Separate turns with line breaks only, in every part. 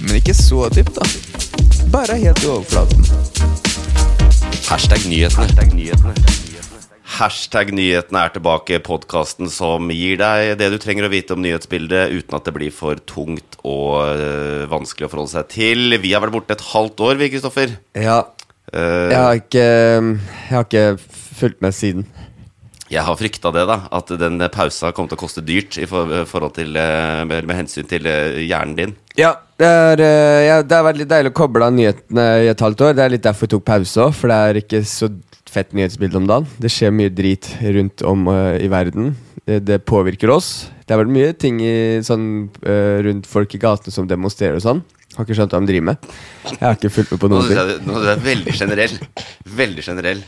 Men ikke så dypt, da. Bare helt i overflaten.
Hashtag nyhetene.
Hashtag nyhetene er tilbake, podkasten som gir deg det du trenger å vite om nyhetsbildet uten at det blir for tungt og øh, vanskelig å forholde seg til. Vi har vært borte et halvt år, vi, Kristoffer.
Ja.
Eh,
Jeg har ikke, ehm, jeg har ikke fulgt med siden.
Jeg har frykta det, da. At den pausa kom til å koste dyrt i for forhold til, eh, med, med hensyn til eh, hjernen din.
Ja, det, er, eh, ja, det har vært litt deilig å koble av nyhetene i et halvt år. Det er litt derfor jeg tok pause òg, for det er ikke så fett nyhetsbilde om dagen. Det skjer mye drit rundt om eh, i verden. Det, det påvirker oss. Det har vært mye ting i, sånn, eh, rundt folk i gatene som demonstrerer og sånn. Har ikke skjønt hva de driver med. Jeg har ikke fulgt med på
Nå
noen
synes
ting.
jeg, nå synes jeg det er veldig generell. Veldig generell.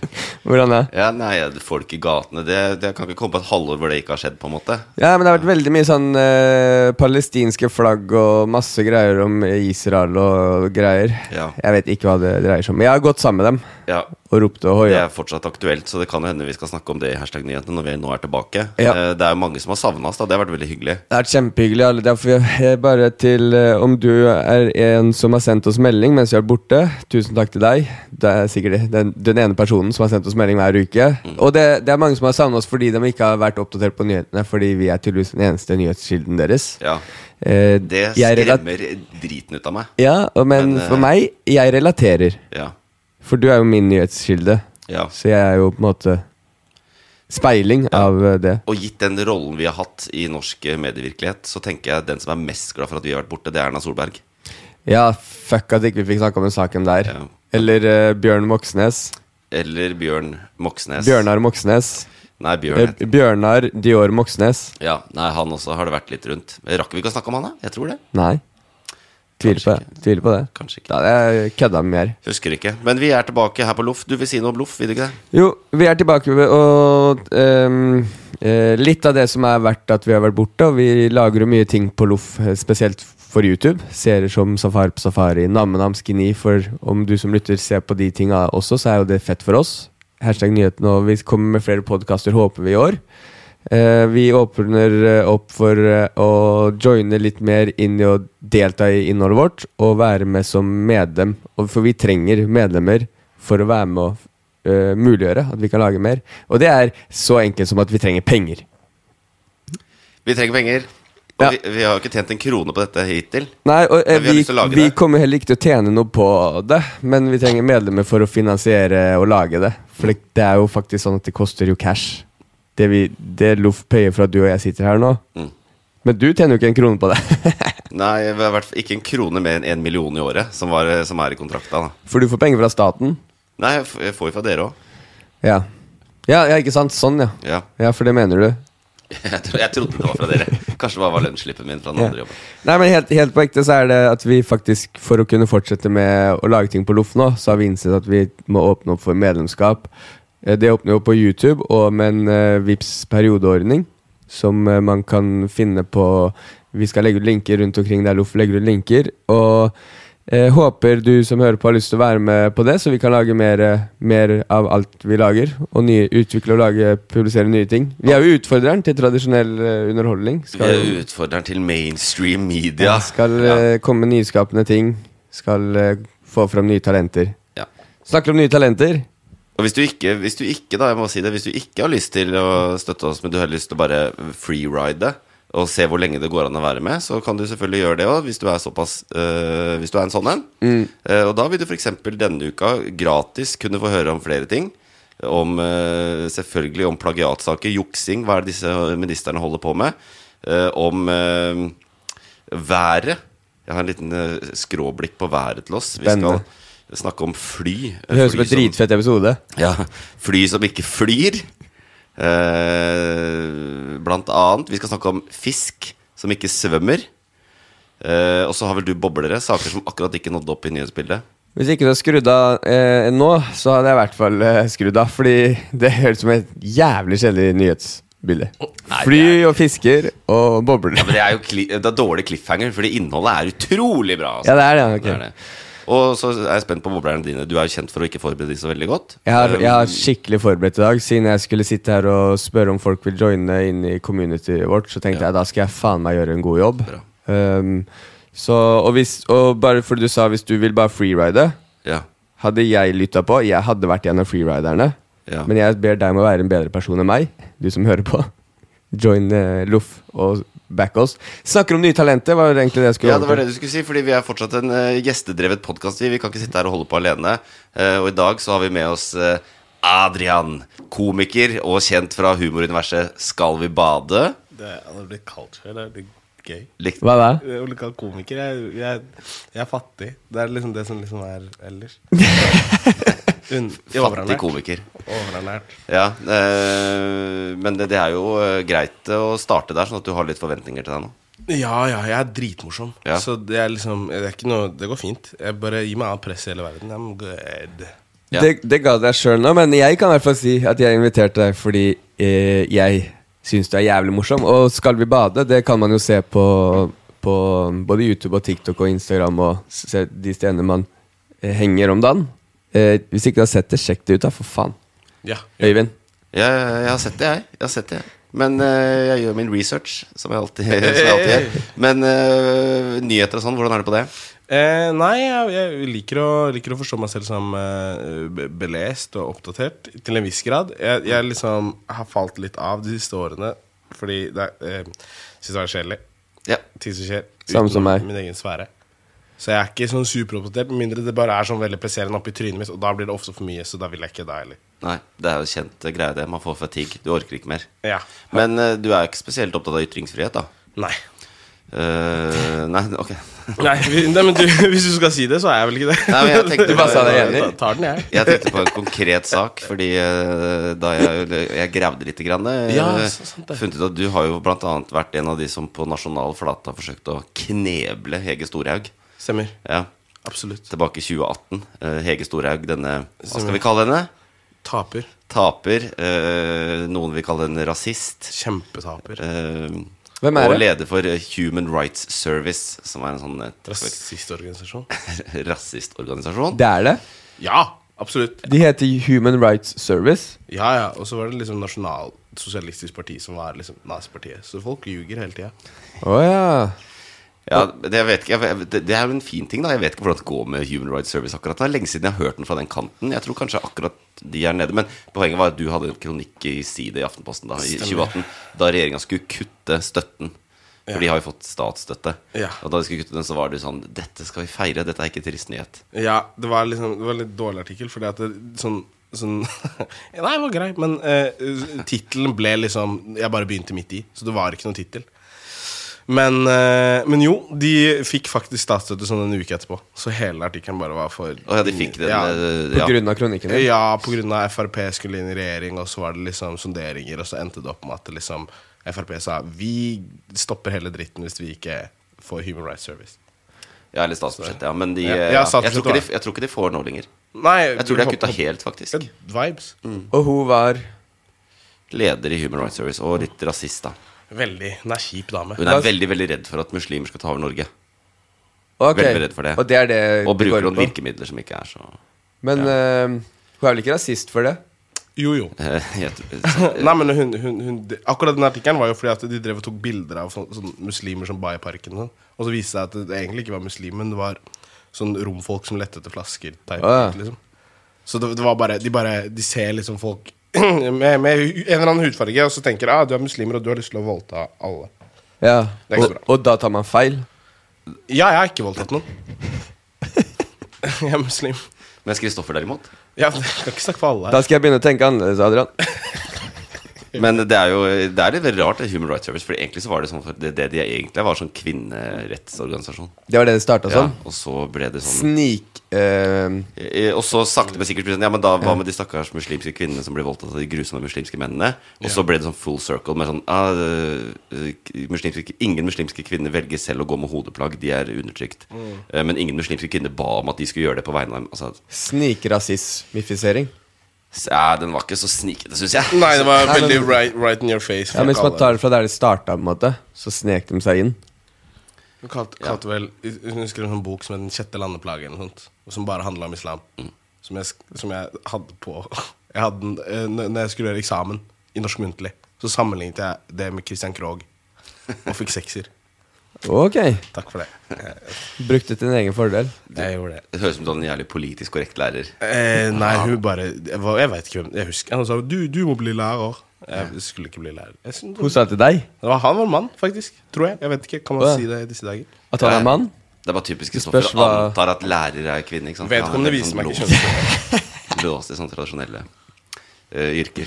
Hvordan er det?
Ja, nei, folk i gatene det, det kan ikke komme på et halvår hvor det ikke har skjedd, på en måte.
Ja, men det har vært veldig mye sånn eh, palestinske flagg og masse greier om Israel og greier.
Ja.
Jeg vet ikke hva det dreier seg om. Men jeg har gått sammen med dem
Ja,
og ropt og
Det
hoia.
er fortsatt aktuelt, så det kan jo hende vi skal snakke om det i hashtag nyhetene når vi nå er tilbake.
Ja.
Eh, Det er jo mange som har savna oss, da. Det har vært veldig hyggelig.
Det har vært kjempehyggelig. alle. Derfor jeg- bare til eh, om du er en som har sendt oss melding mens vi har vært borte, tusen takk til deg. Det er sikkert den, den ene personen som har sendt oss melding hver uke.
Mm.
Og det, det er mange som har savna oss fordi de ikke har vært oppdatert på nyhetene, fordi vi er tydeligvis den eneste nyhetskilden deres.
Ja.
Eh,
Det
jeg relat-
skremmer driten ut av meg.
Ja, og, men,
Men, eh,
for meg, jeg relaterer.
Ja.
For du er jo min nyhetskilde.
Ja.
Så jeg er jo på en måte speiling av eh, det.
Og gitt den rollen vi har hatt i norsk eh, medievirkelighet, så tenker jeg den som er mest glad for at vi har vært borte, det er Erna Solberg.
Ja, fuck at ikke vi fikk snakke om den saken der.
Ja.
Eller eh, Bjørn Moxnes.
Eller Bjørn Moxnes.
Bjørnar Moxnes.
Nei, Bjørn.
Eh,
heter-
Bjørnar Dior Moxnes.
Ja, nei, han også har det vært litt rundt. Rakk vi ikke å snakke om han, da? Jeg tror det.
Nei. Tviler på,
Kanskje
det. Tviler på det.
Kanskje ikke.
Da hadde jeg kødda mer.
Husker ikke. Men vi er tilbake her på Loff. Du vil si noe om Loff, vil du ikke det?
Jo, vi er tilbake ved og ehm, eh, Litt av det som er verdt at vi har vært borte, og vi lager jo mye ting på loff, eh, spesielt for YouTube. Serier som Safari på Safari, Nammenam Skini, for om du som lytter ser på de tinga også, så er jo det fett for oss. Hashtag nyheten, og vi kommer med flere podkaster, håper vi, i år. Eh, vi åpner eh, opp for eh, å joine litt mer inn i å delta i innholdet vårt og være med som medlem. Og for vi trenger medlemmer for å være med og eh, muliggjøre at vi kan lage mer. Og det er så enkelt som at vi trenger penger.
Vi trenger penger. Og
Ja.
vi, vi har jo ikke tjent en krone på dette hittil.
Nei, og eh,
Men vi har
vi,
lyst til å lage
vi
det.
kommer heller ikke til å tjene noe på det, men vi trenger medlemmer for å finansiere og lage det. For det, det er jo faktisk sånn at det koster jo cash. Det, vi- det Loff payer for at du og jeg sitter her nå.
Mm.
Men du tjener jo ikke en krone på det.
Nei, i hvert fall ikke en krone mer enn én million i året, som, var, eh, som er i kontrakta. da.
For du får penger fra staten?
Nei, jeg f- jeg får jo fra dere òg.
Ja. ja. Ja, ikke sant? Sånn, ja.
Ja.
Ja, for det mener du.
Jeg, tro, jeg trodde det var fra dere. Kanskje det bare var lønnsslippen min fra den
Ja.
andre jobben.
Nei, men helt, helt på ekte så er det at vi faktisk, for å kunne fortsette med å lage ting på loff nå, så har vi innsett at vi må åpne opp for medlemskap. Eh, Det åpner jo på YouTube og med en uh, VIPS periodeordning, som eh, man kan finne på Vi skal legge ut linker rundt omkring der loff legger ut linker. Og eh, håper du som hører på har lyst til å være med på det, så vi kan lage mer, eh, mer av alt vi lager. Og nye, utvikle og lage, publisere nye ting. Vi er jo utfordreren til tradisjonell eh, underholdning.
Vi
Skal,
er utfordreren til mainstream media.
ja, skal
ja.
eh, komme med nyskapende ting. Skal eh, få fram nye talenter.
Ja.
Snakker om nye talenter.
Og hvis du ikke, hvis du ikke da, jeg må si det, hvis du ikke har lyst til å støtte oss, men du har lyst til å bare freeride og se hvor lenge det går an å være med, så kan du selvfølgelig gjøre det òg, hvis du er såpass øh, Hvis du er en sånn en.
Mm.
Eh, og da vil du f.eks. denne uka gratis kunne få høre om flere ting. Om, eh, selvfølgelig om plagiatsaker, juksing, hva er det disse ministerne holder på med? Eh, om eh, været. Jeg har en liten eh, skråblikk på været til oss. Vi
Spennende.
skal snakke om fly. øh,
Det høres ut som
Fly
en dritfett episode.
ja, fly som ikke flyr. Eh, blant annet. Vi skal snakke om fisk som ikke svømmer. Eh, og så har vel du boblere, saker som akkurat ikke nådde opp i nyhetsbildet.
Hvis ikke du har skrudd av eh, nå, så hadde jeg i hvert fall eh, skrudd av. Fordi det høres ut som et jævlig kjedelig nyhetsbilde. Fly og fisker og bobler.
Men det er jo kli det er dårlig cliffhanger, fordi innholdet er utrolig bra. altså.
Ja, det er det.
Det
ok
er det. Og så er jeg spent på boblerne dine. Du er jo kjent for å ikke forberede de så veldig godt.
Jeg har,
Eh,
jeg har skikkelig forberedt i dag. Siden jeg skulle sitte her og spørre om folk vil joine inn i communityet vårt, så tenkte jeg da skal jeg faen meg gjøre en god jobb. Um, så, og, hvis, og bare fordi du sa hvis du vil bare freeride,
ja.
hadde jeg lytta på Jeg hadde vært en av freeriderne.
Ja.
Men jeg ber deg om å være en bedre person enn meg, du som hører på. Join eh, Loff og back oss. Snakker om nye talenter, var det egentlig det jeg skulle
Ja, det var
over
det
til.
du skulle si, fordi vi er fortsatt en eh, gjestedrevet podkast. Vi kan ikke sitte her og holde på alene. Eh, og i dag så har vi med oss eh, Adrian, komiker og kjent fra humoruniverset Skal vi bade?
Det er, altså, det blir kaldt før, det er litt gøy.
Likt.
Hva da?
Jeg blir kalt komiker. Jeg, jeg, jeg er fattig. Det er liksom det som liksom er ellers. Un,
Fattig komiker.
Overernært.
Ja, eh, men det, det er jo eh, greit å starte der, sånn at du har litt forventninger til deg nå.
Ja, ja, jeg er dritmorsom.
Ja.
Så det er liksom Det er ikke noe Det går fint. Jeg bare Gi meg all press i hele verden. I'm good.
Ja.
Det, det ga deg sjøl nå, men jeg kan i hvert fall si at jeg inviterte deg fordi eh, jeg syns du er jævlig morsom. Og Skal vi bade? Det kan man jo se på, på um, både YouTube og TikTok og Instagram og se de stedene man eh, henger om dagen. Eh, hvis ikke du har sett det, sjekk det ut, da, for faen.
Ja.
Øyvind.
Jeg, jeg har sett det, jeg. jeg, har sett det, jeg. Men eh, jeg gjør min research, som jeg alltid, som jeg alltid gjør. Men eh, nyheter og sånn, hvordan er det på det?
Eh, nei, jeg, jeg liker, å, liker å forstå meg selv som eh, be- belest og oppdatert, til en viss grad. Jeg, jeg liksom har falt litt av de siste årene, fordi det er, eh, synes det er kjedelig.
Ja.
Ting som skjer
Samme som meg.
min egen sfære. Så jeg er ikke sånn superoppdatert, med mindre det bare er sånn veldig presserende oppi trynet mitt, og da blir det ofte for mye, så da vil jeg ikke det heller.
Nei, det er jo kjent eh, greie det. Man får fatigue. Du orker ikke mer.
Ja.
Men eh, du er ikke spesielt opptatt av ytringsfrihet, da?
Nei.
Eh, nei, ok.
Nei, vi- nei men du, hvis du skal si det, så er jeg vel ikke det.
Nei, men jeg tenkte
Du bare sa deg enig.
Ta- Tar den, jeg.
Jeg tenkte på en konkret sak, fordi eh, da jeg, jeg gravde litt, grann, eh,
Ja, så- sant det.
funnet ut at du har jo bl.a. vært en av de som på nasjonal flate har forsøkt å kneble Hege Storhaug.
Stemmer.
Ja,
Absolutt.
Tilbake i 2018. Eh, Hege Storhaug, denne Hva skal vi kalle henne?
Taper.
Taper. eh, noen vil kalle henne rasist.
Kjempetaper.
Eh,
Hvem er
og
det?
leder for eh, Human Rights Service, som er en sånn eh,
Rasistorganisasjon.
rasistorganisasjon.
Det er det.
Ja, absolutt.
De heter Human Rights Service.
Ja, ja, Og så var det liksom Nasjonalsosialistisk Parti som var liksom nazipartiet. Så folk ljuger hele tida.
Å ja.
Ja, det, jeg vet ikke, jeg, det, det er jo en fin ting, da. Jeg vet ikke hvordan det går med Human Rights Service akkurat. Det er lenge siden jeg har hørt den fra den kanten. Jeg tror kanskje akkurat de er nede. Men poenget var at du hadde en kronikk i side i Aftenposten da, i 2018, da regjeringa skulle kutte støtten. For de har jo fått statsstøtte.
Ja.
Og da de skulle kutte den, så var det jo sånn Dette skal vi feire, dette er ikke trist nyhet.
Ja, det var liksom Det var en litt dårlig artikkel, fordi at det, sånn Sånn Nei, det var grei, men eh, tittelen ble liksom Jeg bare begynte midt i, så det var ikke noen tittel. Men, eh, men jo, de fikk faktisk statsstøtte sånn en uke etterpå. Så hele artikkelen bare var for
Og ja, de fikk den
Ja,
eh,
På
ja.
grunn av kronikken din.
Ja, på grunn av Frp skulle inn i regjering, og så var det liksom sonderinger, og så endte det opp med at det liksom Frp sa vi stopper hele dritten hvis vi ikke får Human Rights Service.
Ja, eller statsbudsjettet, ja. Men de,
Ja,
eh,
ja,
ja, jeg, tror
statsbudsjettet
ikke
var-
de jeg tror ikke de får nå lenger.
Nei,
Jeg tror de har kutta helt, Mm. faktisk.
Vibes.
Og hun var
Leder i Human Rights Service, og litt rasist, da.
Veldig. Hun er kjip dame.
Hun er veldig veldig redd for at muslimer skal ta over Norge.
Ok.
Veldig redd for det.
Og det er det
Og
det
bruker
går
noen
på.
virkemidler som ikke er så
Men eh, hun er vel ikke rasist for det?
Jo, jo.
Eh, jeg tror-
Nei, men hun, hun, hun, det- akkurat den artikkelen var jo fordi at de drev og tok bilder av sånne, sånne muslimer som ba i parken. Og, sånn. og så viste det seg at det egentlig ikke var muslimer, men det var sånn romfolk som lette etter flasker. Type,
Å, ja.
liksom. Så det, det var bare, de bare De ser liksom folk med, med en eller annen hudfarge, og så tenker de ah, du er muslimer og du har lyst til å voldta alle.
Ja.
Det er ikke så
Og, og da tar man feil.
Ja, jeg har ikke voldtatt noen. jeg er muslim.
Mens Kristoffer derimot
Ja, men jeg kan ikke snakke for alle.
Da skal jeg begynne å tenke annerledes, Adrian.
Men det er jo det er litt veldig rart, det Human Rights Service. For egentlig så var det sånn for det, det de egentlig var, sånn kvinnerettsorganisasjon.
Det var det sånn? det starta
Ja,
som.
og så ble det sånn
Snik... eh,
Eh, Og så sakte, men sikkert ble det sånn, Ja, men da hva med de stakkars muslimske kvinnene som ble voldtatt av de grusomme muslimske mennene? Og så ble det sånn full circle med sånn ah, eh, k- muslimske, Ingen muslimske kvinner velger selv å gå med hodeplagg, de er undertrykt.
Mm.
Eh, Men ingen muslimske kvinner ba om at de skulle gjøre det på vegne av dem. Altså,
Snikrasismifisering.
s- ja, den var ikke så snikete, syns jeg.
Nei, det var
Nei, men-
veldig right, right in your face.
Ja, men Hvis man tar det fra der det starta, på en måte, så snek de seg inn.
Hun kalte, kalte vel Hun skrev en sånn bok som het Den sjette landeplagen, eller noe sånt, og som bare handla om islam.
Mm.
Som, jeg, sk- som jeg hadde på Jeg hadde den eh, når- Når jeg skulle gjøre eksamen i norsk muntlig, så sammenlignet jeg det med Christian Krogh, og fikk sekser.
Ok.
Takk for det. Jeg,
Brukte til din egen fordel.
jeg gjorde det.
Det høres ut som du har en jævlig politisk korrekt lærer.
Eh, nei, hun bare Jeg, var- jeg veit ikke hvem Jeg husker Han sa du, du må bli lærer. Jeg skulle ikke bli lærer. Jeg, synes-
Hun sa til deg
det var, han var mann, faktisk. Tror jeg. Jeg vet ikke, Kan man
Å, ja.
si det i disse dager?
at han er mann.
Eh, Det er bare typisk Kristoffer.
spørs hva-
Antar at lærer er kvinne. ikke sant?
Vedkommende
Han er
viser
sånn
meg ikke
låst- Låst i sånne tradisjonelle eh, yrker.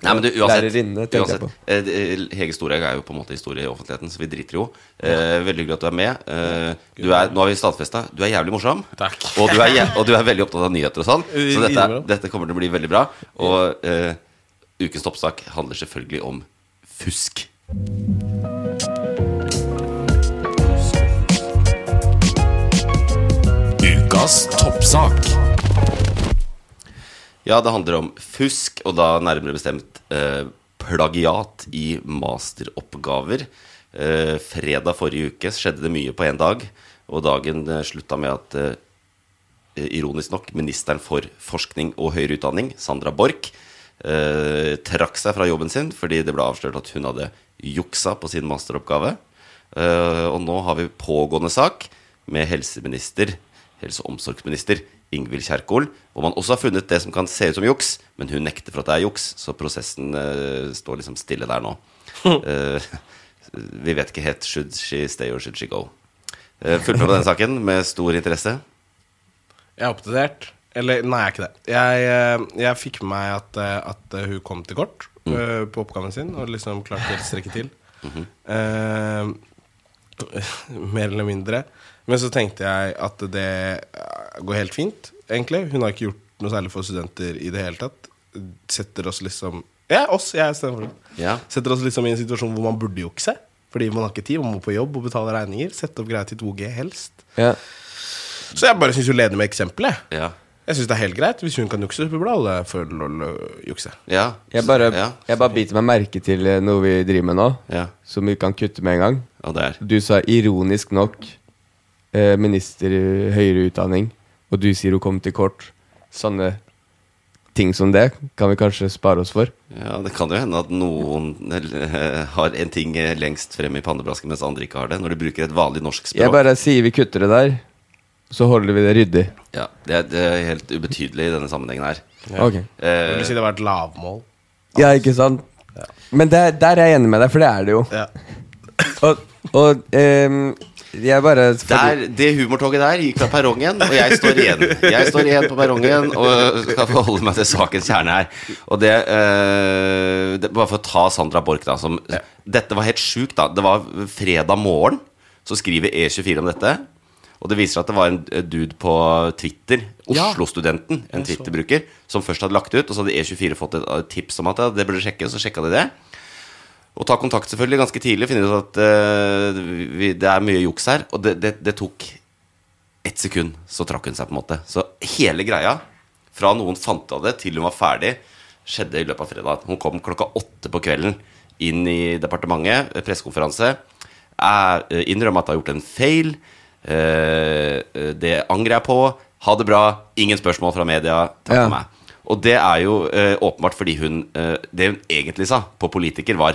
Nei, men du, uansett,
Lærerinne, tenker jeg
uansett eh, det- Hege Storhaug er jo på en måte historie i offentligheten, så vi driter jo. Eh, veldig hyggelig at du er med. Eh, du er, nå har vi stadfesta. Du er jævlig morsom.
Takk.
Og du er, jæ- og du er veldig opptatt av nyheter og sånn. Så dette, er-
Innimellom.
dette kommer til å bli veldig bra. Og eh, ukens toppsak handler selvfølgelig om fusk.
Ukas toppsak.
Ja, det handler om fusk, og da nærmere bestemt eh, plagiat i masteroppgaver. Eh, fredag forrige uke skjedde det mye på én dag, og dagen eh, slutta med at eh, ironisk nok, ministeren for forskning og høyere utdanning, Sandra Borch, eh, trakk seg fra jobben sin fordi det ble avslørt at hun hadde juksa på sin masteroppgave. Eh, og nå har vi pågående sak med helseminister, helse- og omsorgsminister Ingvild Kjerkol, hvor man også har funnet det som kan se ut som juks, men hun nekter for at det er juks, så prosessen eh, står liksom stille der nå. Eh, vi vet ikke helt should she stay or should she go. Uh, Fulgt med på den saken med stor interesse.
Jeg er oppdatert. Eller, nei, jeg er ikke det. Jeg, eh, jeg fikk med meg at, eh, at eh, hun kom til kort
Mm.
eh, på oppgaven sin, og liksom klarte ikke helt å strekke til.
Mhm.
Eh, mer eller mindre. Men så tenkte jeg at det eh, går helt fint, egentlig. Hun har ikke gjort noe særlig for studenter i det hele tatt. Setter oss liksom Ja, oss. Jeg er Stenford.
Ja.
Setter oss liksom i en situasjon hvor man burde jukse. Fordi man har ikke tid, man må på jobb og betale regninger. Sette opp greier til 2G, helst.
Ja.
Så jeg bare syns hun leder med eksempelet.
Ja.
Jeg syns det er helt greit. Hvis hun kan jukse, så burde alle få lov å øh, jukse.
Ja.
Jeg bare,
ja.
jeg bare biter meg merke til eh, noe vi driver med nå,
Ja.
som vi kan kutte med en gang.
Og der.
Du sa ironisk nok eh, minister i høyere utdanning, og du sier hun kom til kort. Sånne ting som det kan vi kanskje spare oss for.
Ja, det kan jo hende at noen eh, har en ting eh, lengst frem i pannebrasken, mens andre ikke har det. Når du bruker et vanlig norsk språk.
Jeg bare sier vi kutter det der, så holder vi det ryddig.
ja, det, er, det er helt ubetydelig i denne sammenhengen her.
Ok.
Jeg vil
Eh,
si det var et lavmål.
Ja, ikke sant? Men der, der er jeg enig med deg, for det er det jo.
Ja.
Og, og ehm, jeg bare
der, det humortoget der gikk fra perrongen, og jeg står igjen. Jeg står igjen på perrongen og skal forholde meg til sakens kjerne her. Og det, eh, det Bare for å ta Sandra Borch, da. Som, Dette var helt sjukt, da. Det var fredag morgen, så skriver E24 om dette. Og det viser at det var en eh, dude på Twitter, Oslo-studenten, en Twitter-bruker, som først hadde lagt ut, og så hadde E24 fått et eh, tips om at ja, det burde sjekkes, og så sjekka de det. Og ta kontakt selvfølgelig ganske tidlig. Finner ut at eh, vi, det er mye juks her. Og det, det, det tok ett sekund, så trakk hun seg, på en måte. Så hele greia, fra noen fant ut av det, til hun var ferdig, skjedde i løpet av fredag. Hun kom klokka åtte på kvelden inn i departementet, eh, pressekonferanse. Jeg, eh, Innrømmer at jeg har gjort en feil. eh, eh, Det angrer jeg på. Ha det bra. Ingen spørsmål fra media. Takk
Ja.
for meg. Og det er jo eh, åpenbart fordi hun eh, Det hun egentlig sa på politiker, var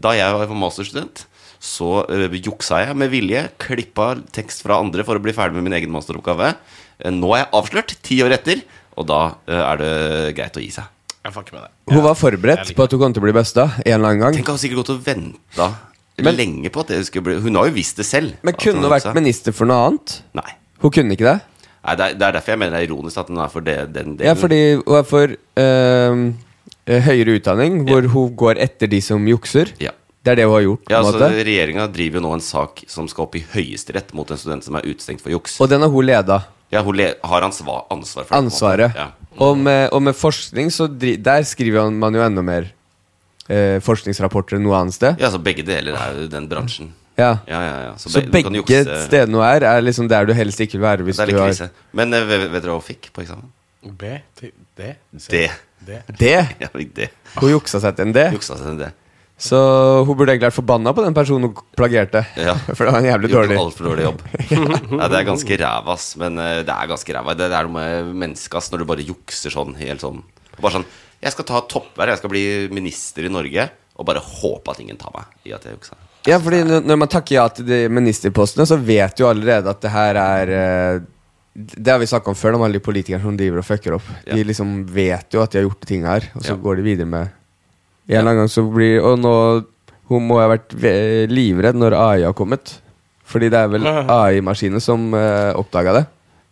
Da jeg var masterstudent, så eh, juksa jeg med vilje, klippa tekst fra andre for å bli ferdig med min egen masteroppgave. Eh, nå er jeg avslørt, ti år etter, Og da eh, er det greit å gi seg.
Jeg fucker med det.
Hun var forberedt på at hun kom til å bli busta en eller annen gang.
Tenk at hun sikkert gått og venta
Men-
lenge på at det skulle bli Hun har jo visst det selv.
Men
at
kunne
hun
hun
har
vært
bussa.
minister for noe annet?
Nei.
Hun kunne ikke det?
Nei det, er, det er derfor jeg mener det er ironisk at den er for det, den delen.
Ja, fordi hun er for ehm, eh, høyere utdanning, hvor hun går etter de som jukser.
Ja.
Det er det hun har gjort. på
Ja,
en
altså,
måte
Regjeringa driver jo nå en sak som skal opp i Høyesterett mot en student som er utestengt for juks.
Og den har hun leda.
Ja, hun le har ansvar, ansvar for det, på en måte.
Ansvaret.
Ja.
Og, med, og med forskning, så dri der skriver han- man jo enda mer eh, forskningsrapporter enn noe annet sted.
ja, så begge deler er jo den bransjen.
Ja.
Ja, ja, ja. Så,
Så
be- du kan
begge
jukse-
stedene hun er, er liksom der du helst ikke vil være. Hvis
Det er
du
litt
har
krise. Men eh, vet vet dere hva hun fikk på eksamen?
B, T, D, C,
Det.
D.
Det!
Ja, hun fikk det.
Hun juksa seg til en D.
Juksa seg til det.
Så hun burde egentlig vært forbanna på den personen hun plagierte.
Ja.
For det var en jævlig
Gjorde
dårlig.
en altfor dårlig jobb. ja, det er ganske ræva, ass. Men eh, det er ganske ræva. Det, det er noe med mennesket, ass, når du bare jukser sånn helt sånn. Bare sånn Jeg skal ta toppverv, jeg skal bli minister i Norge, og bare håpe at ingen tar meg i at jeg juksa.
Ja, fordi n- når man takker ja til de ministerpostene, så vet jo allerede at det her er eh, Det har vi snakka om før, om alle de politikerne som driver og fucker opp.
Ja.
De liksom vet jo at de har gjort de tinga her, og så
Ja.
går de videre med En eller annen gang så blir Og nå hun må ha vært ve- livredd når AI har kommet. Fordi det er vel AI-maskinen som uh, oppdaga det.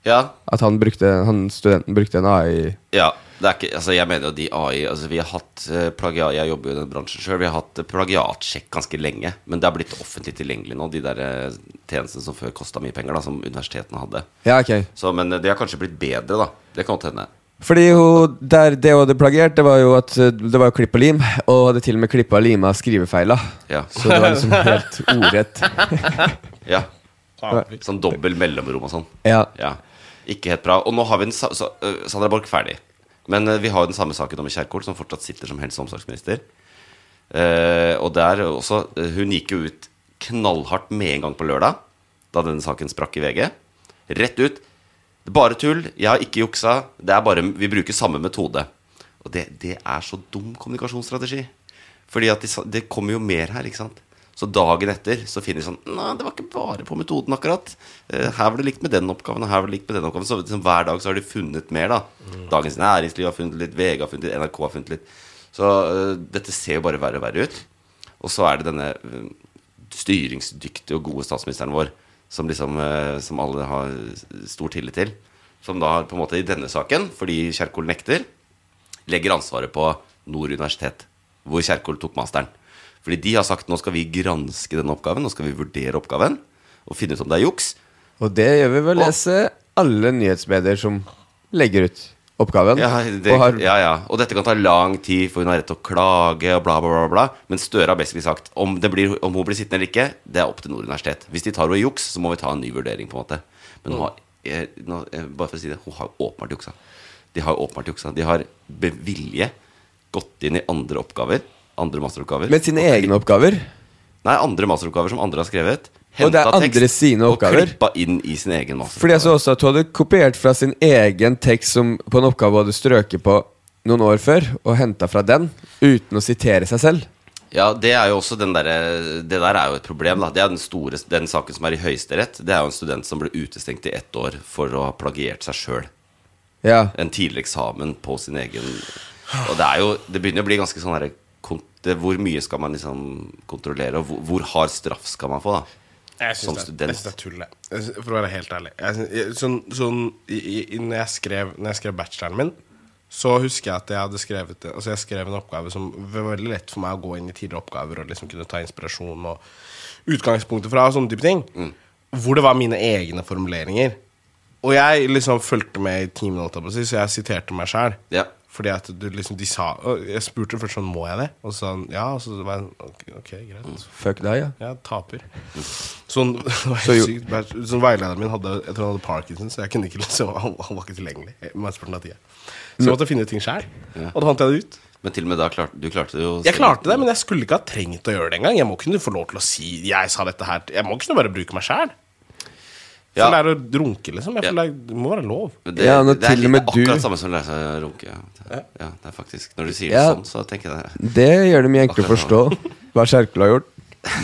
Ja,
At han, brukte, han studenten brukte en AI
ja. Det er ikke, altså jeg mener jo de AI altså Vi har hatt eh, plagiat Jeg jobber jo i den bransjen sjøl. Vi har hatt eh, plagiatsjekk ganske lenge. Men det er blitt offentlig tilgjengelig nå, de der eh, tjenestene som før kosta mye penger, da, som universitetene hadde.
Ja, ok
Så, men eh, de har kanskje blitt bedre, da. Det kan godt hende.
Fordi hun, der, det hun hadde plagiert, det var jo at eh, det var jo klipp og lim. Og hun hadde til og med klippa og lima skrivefeila.
Ja.
Så det var liksom helt ordrett.
ja.
Faen,
Sånn dobbel mellomrom og sånn.
Ja.
Ja. Ikke helt bra. Og nå har vi den sa sa øh, Sandra Borch ferdig. Men øh, vi har jo den samme saken om Kjerkol, som fortsatt sitter som helse- og omsorgsminister. Eh, og der også øh, Hun gikk jo ut knallhardt med en gang på lørdag, da denne saken sprakk i VG. Rett ut. Bare tull. Jeg har ikke juksa. Det er bare Vi bruker samme metode. Og det, det er så dum kommunikasjonsstrategi. Fordi at de, sa- det kommer jo mer her, ikke sant. Så dagen etter så finner de sånn Nei, det var ikke bare på metoden, akkurat. Eh, Her var det likt med den oppgaven, og her var det likt med den oppgaven. Så liksom, hver dag så har de funnet mer, da. Dagens Næringsliv har funnet litt, VG har funnet litt, NRK har funnet litt. Så eh, dette ser jo bare verre og verre ut. Og så er det denne eh, styringsdyktige og gode statsministeren vår, som liksom eh, Som alle har stor tillit til, som da på en måte i denne saken, fordi Kjerkol nekter, legger ansvaret på Nord universitet, hvor Kjerkol tok masteren. Fordi de har sagt nå skal vi granske den oppgaven, nå skal vi vurdere oppgaven og finne ut om det er juks.
Og det gjør vi ved å lese alle nyhetsmedier som legger ut oppgaven.
Ja, det,
Mm. og har,
ja, ja. Og dette kan ta lang tid, for hun har rett til å klage og bla, bla, bla. bla. Men Støre har basically sagt om, det blir, om hun blir sittende eller ikke, det er opp til Nord universitet. Hvis de tar henne i juks, så må vi ta en ny vurdering, på en måte. Men hun har,
Mm.
eh, nå, eh, bare for å si det, hun har jo åpenbart juksa. De har jo åpenbart juksa. De har med vilje gått inn i andre oppgaver. Andre masteroppgaver.
Med sine egne oppgaver.
Nei, andre masteroppgaver som andre har skrevet.
Og det er
hentet tekst
andre sine oppgaver.
Og klippa inn i sin egen masteroppgave.
Fordi altså- jeg så også at hun hadde kopiert fra sin egen tekst som, på en oppgave hun hadde strøket på noen år før, og henta fra den, uten å sitere seg selv.
Ja, det er jo også den derre- Det der er jo et problem, da. Det er den, store, den saken som er i Høyesterett. Det er jo en student som ble utestengt i ett år for å ha plagiert seg sjøl.
Ja.
En tidlig eksamen på sin egen Og det er jo Det begynner å bli ganske sånn derre kon- det- Hvor mye skal man liksom kontrollere, og hvor, hvor hard straff skal man få, da?
Jeg
Som Sånn
syns det,
student.
jeg synes det er tull, jeg. Jeg synes- For å være helt ærlig. Jeg synes, jeg, sånn, sånn, i, i, når, jeg skrev, når jeg skrev bacheloren min, så husker jeg at jeg hadde skrevet det- Altså jeg skrev en oppgave som var veldig lett for meg å gå inn i tidligere oppgaver og liksom kunne ta inspirasjon og utgangspunktet fra og sånne type ting.
Mm.
Hvor det var mine egne formuleringer. Og jeg liksom fulgte med i timen, holdt jeg på å si, så jeg siterte meg sjæl.
Ja.
Fordi at du liksom, de sa og Jeg spurte først sånn, må jeg det? Og så sa han ja. Og så var jeg sånn, ok, ok, greit.
Fuck deg, ja.
Jeg taper. Sånn, det var helt
Så jo-
sykt. Bare- sånn Veilederen min hadde, jeg tror han hadde parkinson, så jeg kunne ikke liksom, han, han var ikke tilgjengelig. eh, mesteparten av tida. Så jeg måtte finne ting sjøl, og da fant jeg det ut.
Men til og med da klarte du klarte det jo
Jeg klarte det, men jeg skulle ikke ha trengt å gjøre det engang. Jeg må kunne få lov til å si 'jeg sa dette her'. Jeg må ikke kunne bare bruke meg sjæl.
Ja.
For det er å runke, liksom. Jeg
Ja.
føler det må være lov.
Men
Ja, når
er
til og
litt-
med
det er
du-
akkurat samme som å lære seg å runke. Ja. Det, ja, det er faktisk Når du sier det
Ja.
sånn, så tenker jeg det.
Det gjør det mye enklere å forstå hva Kjerkol har gjort.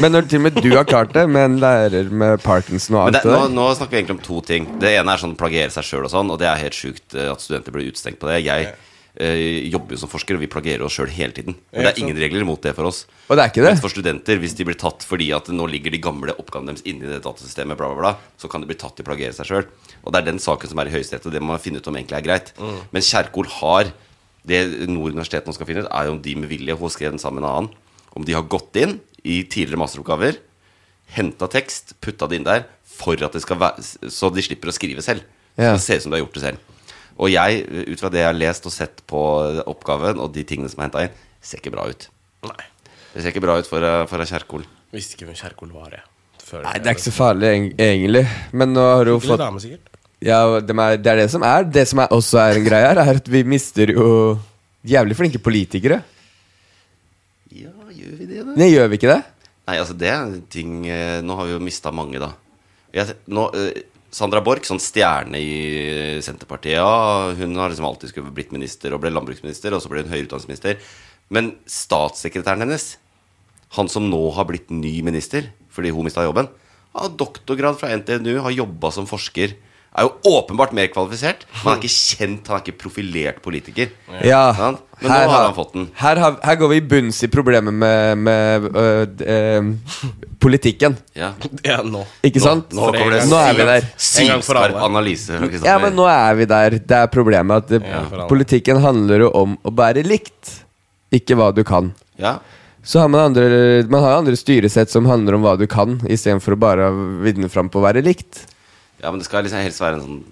Men når til og med du har klart det, med en lærer med Parkinson og
Men det,
alt det
nå,
der
nå snakker vi egentlig om to ting. Det ene er sånn plagiere seg sjøl og sånn, og det er helt sjukt eh, at studenter blir utestengt på det. Jeg eh, jobber jo som forsker, og vi plagierer oss sjøl hele tiden. Men det
ikke
er ingen regler mot det for oss.
Og det er ikke det?
Men for studenter, hvis de blir tatt fordi at nå ligger de gamle oppgavene deres inni det datasystemet, bla, bla, bla, så kan de bli tatt til å plagiere seg sjøl. Og det er den saken som er i Høyesterett, og det må man finne ut om egentlig er greit.
Mm.
Men Kjerkol har Det Nord universitet nå skal finne ut, er jo om de med vilje, hun skrev den sammen med en annen, om de har gått inn i tidligere masteroppgaver henta tekst, putta det inn der, for at det skal være, så de slipper å skrive selv.
Ja.
Så det ser ut som du har gjort det selv. Og jeg, ut fra det jeg har lest og sett på oppgaven, og de tingene som er henta inn, ser ikke bra ut.
Nei.
Det ser ikke bra ut for, eh, for ei Kjerkol.
Visste ikke hvem Kjerkol var, jeg. Før
Nei, det er ikke så farlig, eng- egentlig. Men nå har du jo
Hyggelig
fått
dame, sikkert.
Ja, de er, det er det som er. Det som er også er en greie her, er at vi mister jo jævlig flinke politikere.
Ja, gjør vi det, da?
Nei, gjør vi ikke det?
Nei, altså, det er en ting eh, Nå har vi jo mista mange, da. Jeg, nå, eh, Sandra Borch, sånn stjerne i Senterpartiet, ja, hun har liksom alltid skulle blitt minister, og ble landbruksminister, og så ble hun høyere utdanningsminister. Men statssekretæren hennes han som nå har blitt ny minister fordi hun mista jobben, har doktorgrad fra NTNU, har jobba som forsker. Er jo åpenbart mer kvalifisert. Men han er ikke kjent, han er ikke profilert politiker.
Ja.
Sant? Men nå har han fått den.
Her, har, her går vi i bunns i problemet med, med øh, d- eh, politikken.
Ja.
Ja, nå.
Ikke sant?
Nå,
en
kommer det
gang.
Nå er vi der.
En gang for alle.
Sylskarp analyse. Kristoffer.
Ja, men nå er vi der. Det er problemet at det,
Ja, for alle.
politikken handler jo om å bære likt, ikke hva du kan.
Ja.
Så har man andre, man har andre styresett som handler om hva du kan, istedenfor å bare vinne fram på å være likt.
ja, men det skal liksom helst være en sånn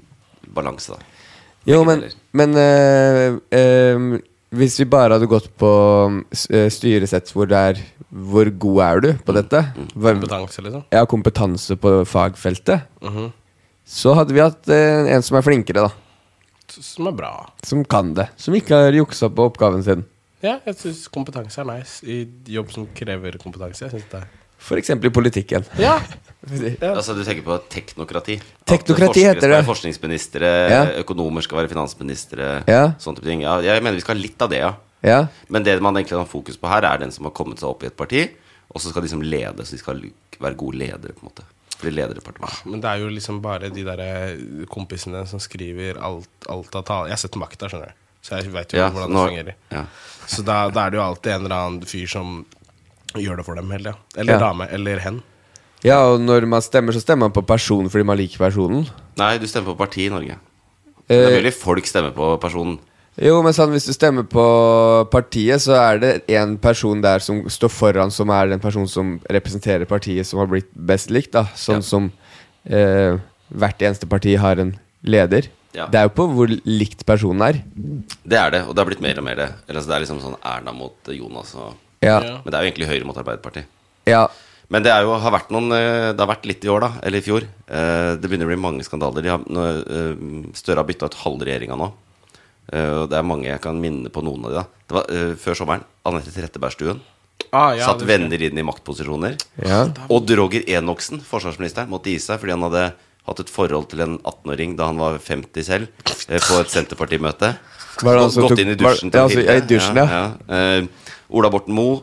balanse, da.
Jo,
Begge
men,
deler.
men eh, eh, hvis vi bare hadde gått på s- eh, styresett hvor det er Hvor god er du
Mm.
på dette? Hva,
Kompetanse, liksom.
jeg har kompetanse på fagfeltet.
Mm-hmm.
Så hadde vi hatt eh, en som er flinkere, da.
Som er bra.
Som kan det. Som ikke har juksa på oppgaven sin.
Ja, jeg syns kompetanse er nice i jobb som krever kompetanse. Jeg synes det er
F.eks. i politikken.
Ja!
Altså, du tenker på teknokrati. At
Teknokrati
forskere
heter
skal være
det.
Forskningsministre,
Ja.
økonomer skal være finansministre,
Ja.
sånne type ting. Ja, jeg mener vi skal ha litt av det, ja.
Ja.
Men det man egentlig har fokus på her, er den som har kommet seg opp i et parti, og så skal de som lede, så de skal være gode ledere, på en måte. Bli ledere i partiet.
Men det er jo liksom bare de derre kompisene som skriver alt, alt av tale Jeg har sett makta, skjønner du. Så jeg veit jo
Ja,
hvordan det
nå-
fungerer.
ja.
Så da, da er det jo alltid en eller annen fyr som gjør det for dem hele tida. Eller
Ja.
dame. Eller hen.
ja, og når man stemmer, så stemmer man på person fordi man liker personen.
Nei, du stemmer på parti i Norge. Det er
Eh,
mulig folk stemmer på personen.
jo, men sånn, hvis du stemmer på partiet, så er det én person der som står foran, som er den personen som representerer partiet som har blitt best likt, da. Sånn
Ja.
som eh, hvert eneste parti har en leder.
Ja.
Det er jo på hvor likt personen er.
Det er det, og det har blitt mer og mer det. Eller, altså, det er liksom sånn Erna mot Jonas og
Ja.
Ja.
Men det er jo egentlig Høyre mot Arbeiderpartiet.
ja.
Men det, er jo, har vært noen, eh, det har vært litt i år, da. Eller i fjor. Eh, Det begynner å bli mange skandaler. De har, nå, eh, Støre har bytta ut halve regjeringa nå. Eh, Og det er mange jeg kan minne på noen av de da. Det var eh, før sommeren. Anette Trettebergstuen.
Ah, ja,
satt
det-
venner inn i maktposisjoner.
Ja.
Odd Roger Enoksen, forsvarsministeren, måtte gi seg fordi han hadde hatt et forhold til en 18-åring da han var 50 selv, eh, på et Senterparti-møte.
Var det han som
Gått
tok-
inn i
var-
dusjen
ja,
til
altså, ja, i dusjen, ja.
Eh, Ola Borten Moe,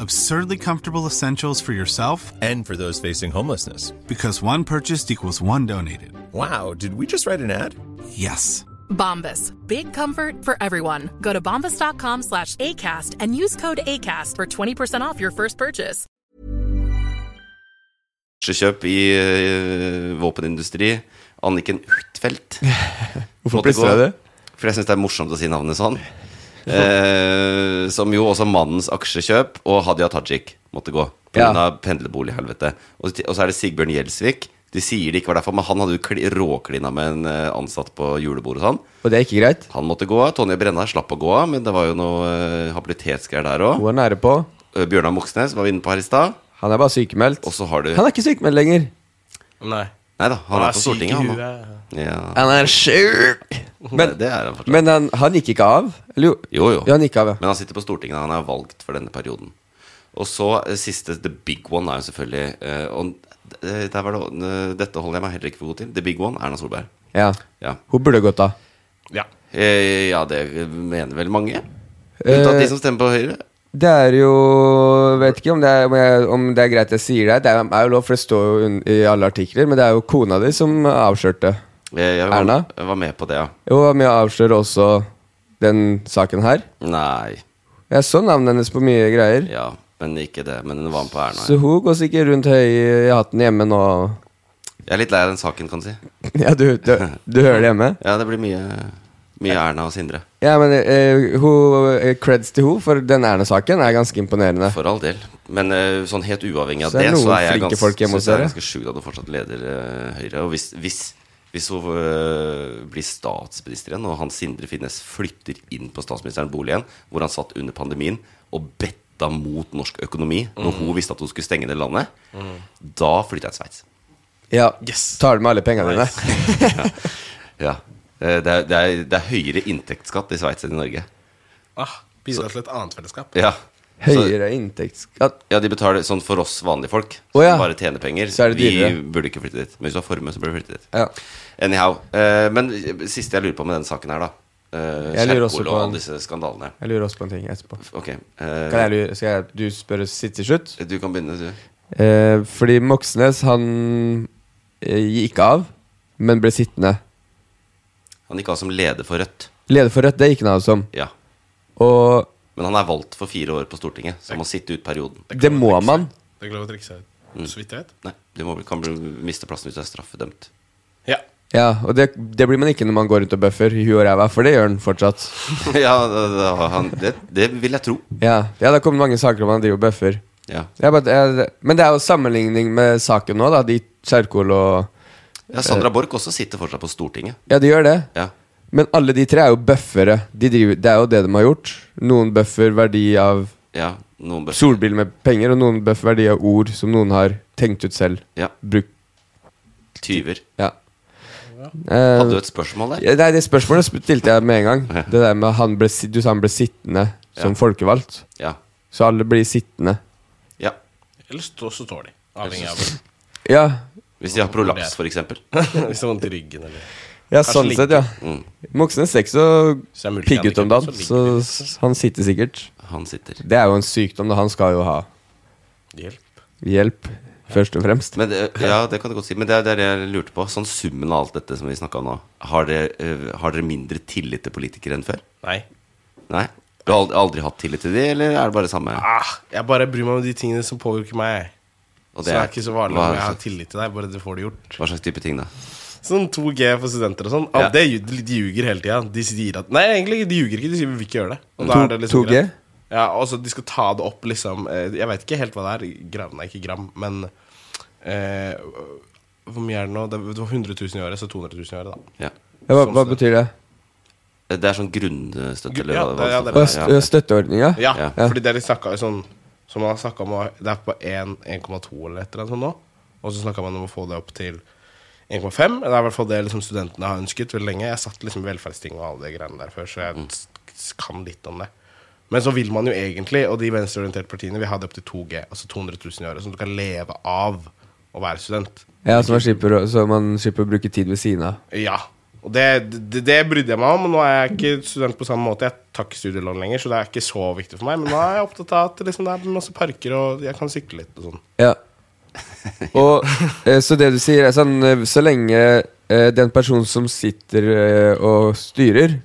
Absurdly comfortable essentials for yourself
And for those facing homelessness.
because one purchased equals one donated.
Wow, did we just write an ad?
Yes.
Bombas. Big comfort for everyone. Go to bombas.com slash ACAST and use code ACAST for 20% off your first purchase.
Aksjekjøp i eh, våpenindustri. Anniken Huitfeldt.
Hvorfor
Måtte
plystrer
gå.
jeg det?
For jeg syns det er morsomt å si navnet sånn. Eh, som jo også mannens aksjekjøp og Hadia Tajik måtte gå. Pga.
Ja.
Ja. pendlerbolighelvete. Og, t- og så er det Sigbjørn Gjelsvik. De sier det ikke var derfor, men han hadde jo kli- råklina med en eh, ansatt på julebordet og sånn.
Og det er ikke greit.
Han måtte gå av. Tonje Brenna slapp å gå av, men det var jo noe eh, habilitetsgreier der òg.
Hun er nære på.
Bjørnar Moxnes var vi inne på her i stad.
Han er bare sykemeldt.
Og så har du
Han er ikke sykemeldt lenger.
Nei.
Nei da, han
Han
er,
er
på
syk i
Stortinget, han nå.
huet.
Ja.
Han er sjuk! Men,
det er han fortsatt.
men han, han gikk ikke av? Eller jo?
Jo, jo.
Ja, han gikk av, ja.
Men han sitter på Stortinget, han er valgt for denne perioden. Og så eh, siste, the big one, er jo selvfølgelig eh, Og eh, der var det, eh, dette holder jeg meg heller ikke for god til. The big one, Erna Solberg.
ja.
Ja,
Hun burde gått av.
Ja.
eh, ja det mener vel mange? Unntatt
Eh,
de som stemmer på Høyre.
Det er jo Vet ikke om det er, om jeg- om det er greit jeg sier det. Det er, er jo lov, for det står jo un- i alle artikler, men det er jo kona di som avslørte.
Eh, jeg var,
Erna?
Jeg var med på det, ja.
Hun var med å avsløre også den saken her.
Nei,
Jeg så navnet hennes på mye greier.
ja. Men ikke det. Men hun var med på Erna.
Så
Ja.
hun går sikkert rundt høy i hatten hjemme nå.
Jeg er litt lei av den saken, kan du si.
Ja, du, du, du hører det hjemme?
Ja, det blir mye, mye Erna og Sindre.
Ja, men eh, hun, eh, creds til hun, for den Erna-saken er ganske imponerende.
For all del. Men eh, sånn helt uavhengig av
Så er
det,
det
så
noen
er jeg
flinke
ganske,
folk hjemme hos
synes jeg er
dere.
ganske sjukt at hun fortsatt leder eh, Høyre. Og hvis, hvis, hvis hun eh, blir statsminister igjen, og han Sindre Finnes flytter inn på statsministerens bolig igjen, hvor han satt under pandemien og betta mot norsk økonomi når hun visste at hun skulle stenge det landet, da flytter jeg til Sveits.
Ja,
Yes.
Tar du med alle pengene dine?
Ja. Eh, Det er, det, er, det er høyere inntektsskatt i Sveits enn i Norge.
Ah, Bidra til et annet fellesskap.
Ja. Så,
Høyere inntektsskatt
ja, de betaler sånn for oss vanlige folk, som
Å, ja.
bare tjener penger.
Så er det
vi
dyrere.
burde ikke flytte dit. Men hvis du har formue, så burde du flytte dit.
Ja.
Anyhow. eh, men siste jeg lurer på med denne saken her, da. Uh,
Jeg lurer også på-
og alle disse skandalene.
Jeg lurer også på en ting etterpå.
Ok. eh,
Kan jeg, lure- skal jeg, du spørre sitt til slutt?
du kan begynne, du.
Eh, fordi Moxnes, han eh, gikk av, men ble sittende.
Han gikk av som leder for Rødt.
Leder for Rødt, det gikk han av som.
Ja.
Og
Men han er valgt for fire år på Stortinget, så han må sitte ut perioden.
det må man.
Det er ikke lov å trekke seg ut.
Mm.
Så vidt jeg vet.
Nei, du må, kan bli, miste plassen hvis du er straffedømt.
Ja.
Ja, Og det, det blir man ikke når man går rundt og bøffer i huet og ræva, for det gjør han fortsatt.
ja, da, da, han, det, det vil jeg tro.
Ja, ja det har kommet mange saker om han driver og bøffer.
Ja.
Jeg bare, jeg, men det er jo sammenligning med saken nå, da. De Kjerkol og
ja Sandra Borch også sitter fortsatt på Stortinget.
Ja, de gjør det.
Ja.
Men alle de tre er jo bøffere. De driver, det er jo det de har gjort. Noen bøffer verdi av
ja noen bør
solbil med penger, og noen bøffer verdi av ord som noen har tenkt ut selv.
Ja.
Bruk,
Tyver.
ja.
Hadde
Eh,
du et spørsmål der?
ja, nei, det spørsmålet sp- stilte jeg med en gang. Det der med han ble, sit- Du sa han ble sittende som
Ja.
folkevalgt.
Ja.
Så alle blir sittende.
ja.
Eller stå, så tåler de. Avhengig av
Ja,
Hvis de har prolaps, f.eks.
hvis det er vondt i ryggen eller
ja
Kanskje
sånn
ligge.
sett, ja.
Mm.
Moxnes ser ikke så
Hvis det er mulig
pigg ut om dagen,
handicap,
så
ligger
s- han sitter sikkert.
Han sitter.
Det er jo en sykdom, da. Han skal jo ha
de. Hjelp.
hjelp, først og fremst.
Men det, ja, det kan du godt si. Men det er det er det jeg lurte på. Sånn summen av alt dette som vi snakka om nå. Har dere, eh, har dere mindre tillit til politikere enn før?
Nei.
Nei? Du har aldri, aldri hatt tillit til de, eller er det bare samme?
Ah, jeg bare bryr meg om de tingene som påvirker meg.
Og
så det er ikke så vanlig
hva,
om jeg har tillit til deg, bare du får det gjort.
hva slags type ting, da?
Sånn 2G for studenter og sånn. Ah,
Ja.
det ju- de, de ljuger hele tida. De sier at Nei, egentlig ikke, de ljuger ikke. De sier vi vil ikke gjøre det. Og da
To-
er det liksom
2G?
greit. Ja, altså De skal ta det opp, liksom. eh, Jeg veit ikke helt hva det er. Gram, nei, ikke gram, men eh, Hvor mye er det nå? Det det var 100 000 i året, så 200 000 i året, da.
Ja.
Ja, hva,
sånn
hva betyr det?
Det er sånn grunnstøtte, eller
Ja,
hva
det- ja,
hva det
det er
Å,
står
st-
for.
ø, Støtteordninga?
Ja,
Ja.
fordi det de snakka jo sånn Som man har snakka om Det er på 1 1,2 eller et eller annet sånt nå. Og så snakka man om å få det opp til 1,5. Det er i hvert fall det liksom studentene har ønsket veldig lenge. Jeg satt liksom i velferdsting og alle de greiene der før, så jeg s- kan litt om det. Men så vil man jo egentlig, og de venstreorienterte partiene vil ha det opp til 2G, altså 200 000 i året, som du kan leve av å være student.
Ja, så man, slipper, å- så man slipper å bruke tid ved siden av.
Ja. Og det, det, det brydde jeg meg om, og nå er jeg ikke student på samme måte. Jeg tar ikke studielån lenger, så det er ikke så viktig for meg. Men nå er jeg opptatt av at liksom, det er masse parker, og jeg kan sykle litt og sånn.
Ja. Og, eh, så det du sier, er sånn eh, Så lenge eh, den personen som sitter eh, og styrer,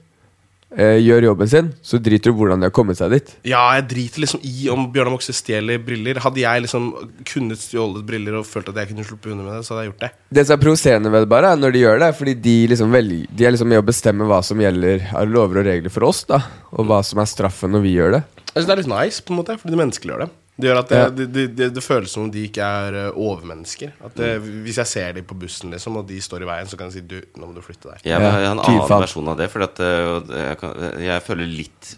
eh, gjør jobben sin, så driter du hvordan de har kommet seg dit.
Ja, jeg driter liksom i om Bjørnar Moxnes stjeler briller. Hadde jeg liksom kunnet stjålet briller og følt at jeg kunne sluppet unna med det, så hadde jeg gjort det.
Det som er provoserende ved det bare, er når de gjør det, er fordi de liksom velger De er liksom med å bestemme hva som gjelder av lover og regler for oss, da. Og hva som er straffen når vi gjør det.
Jeg synes det er litt nice, på en måte, fordi det menneskeliggjør det. Det gjør at det,
Ja.
det, det, det, det føles som om de ikke er eh, overmennesker. At det, Hvis jeg ser dem på bussen, liksom, og de står i veien, så kan jeg si du, nå må du flytte deg.
Jeg vil ha en annen
tyvfall.
versjon av det, for jeg, kan- jeg føler litt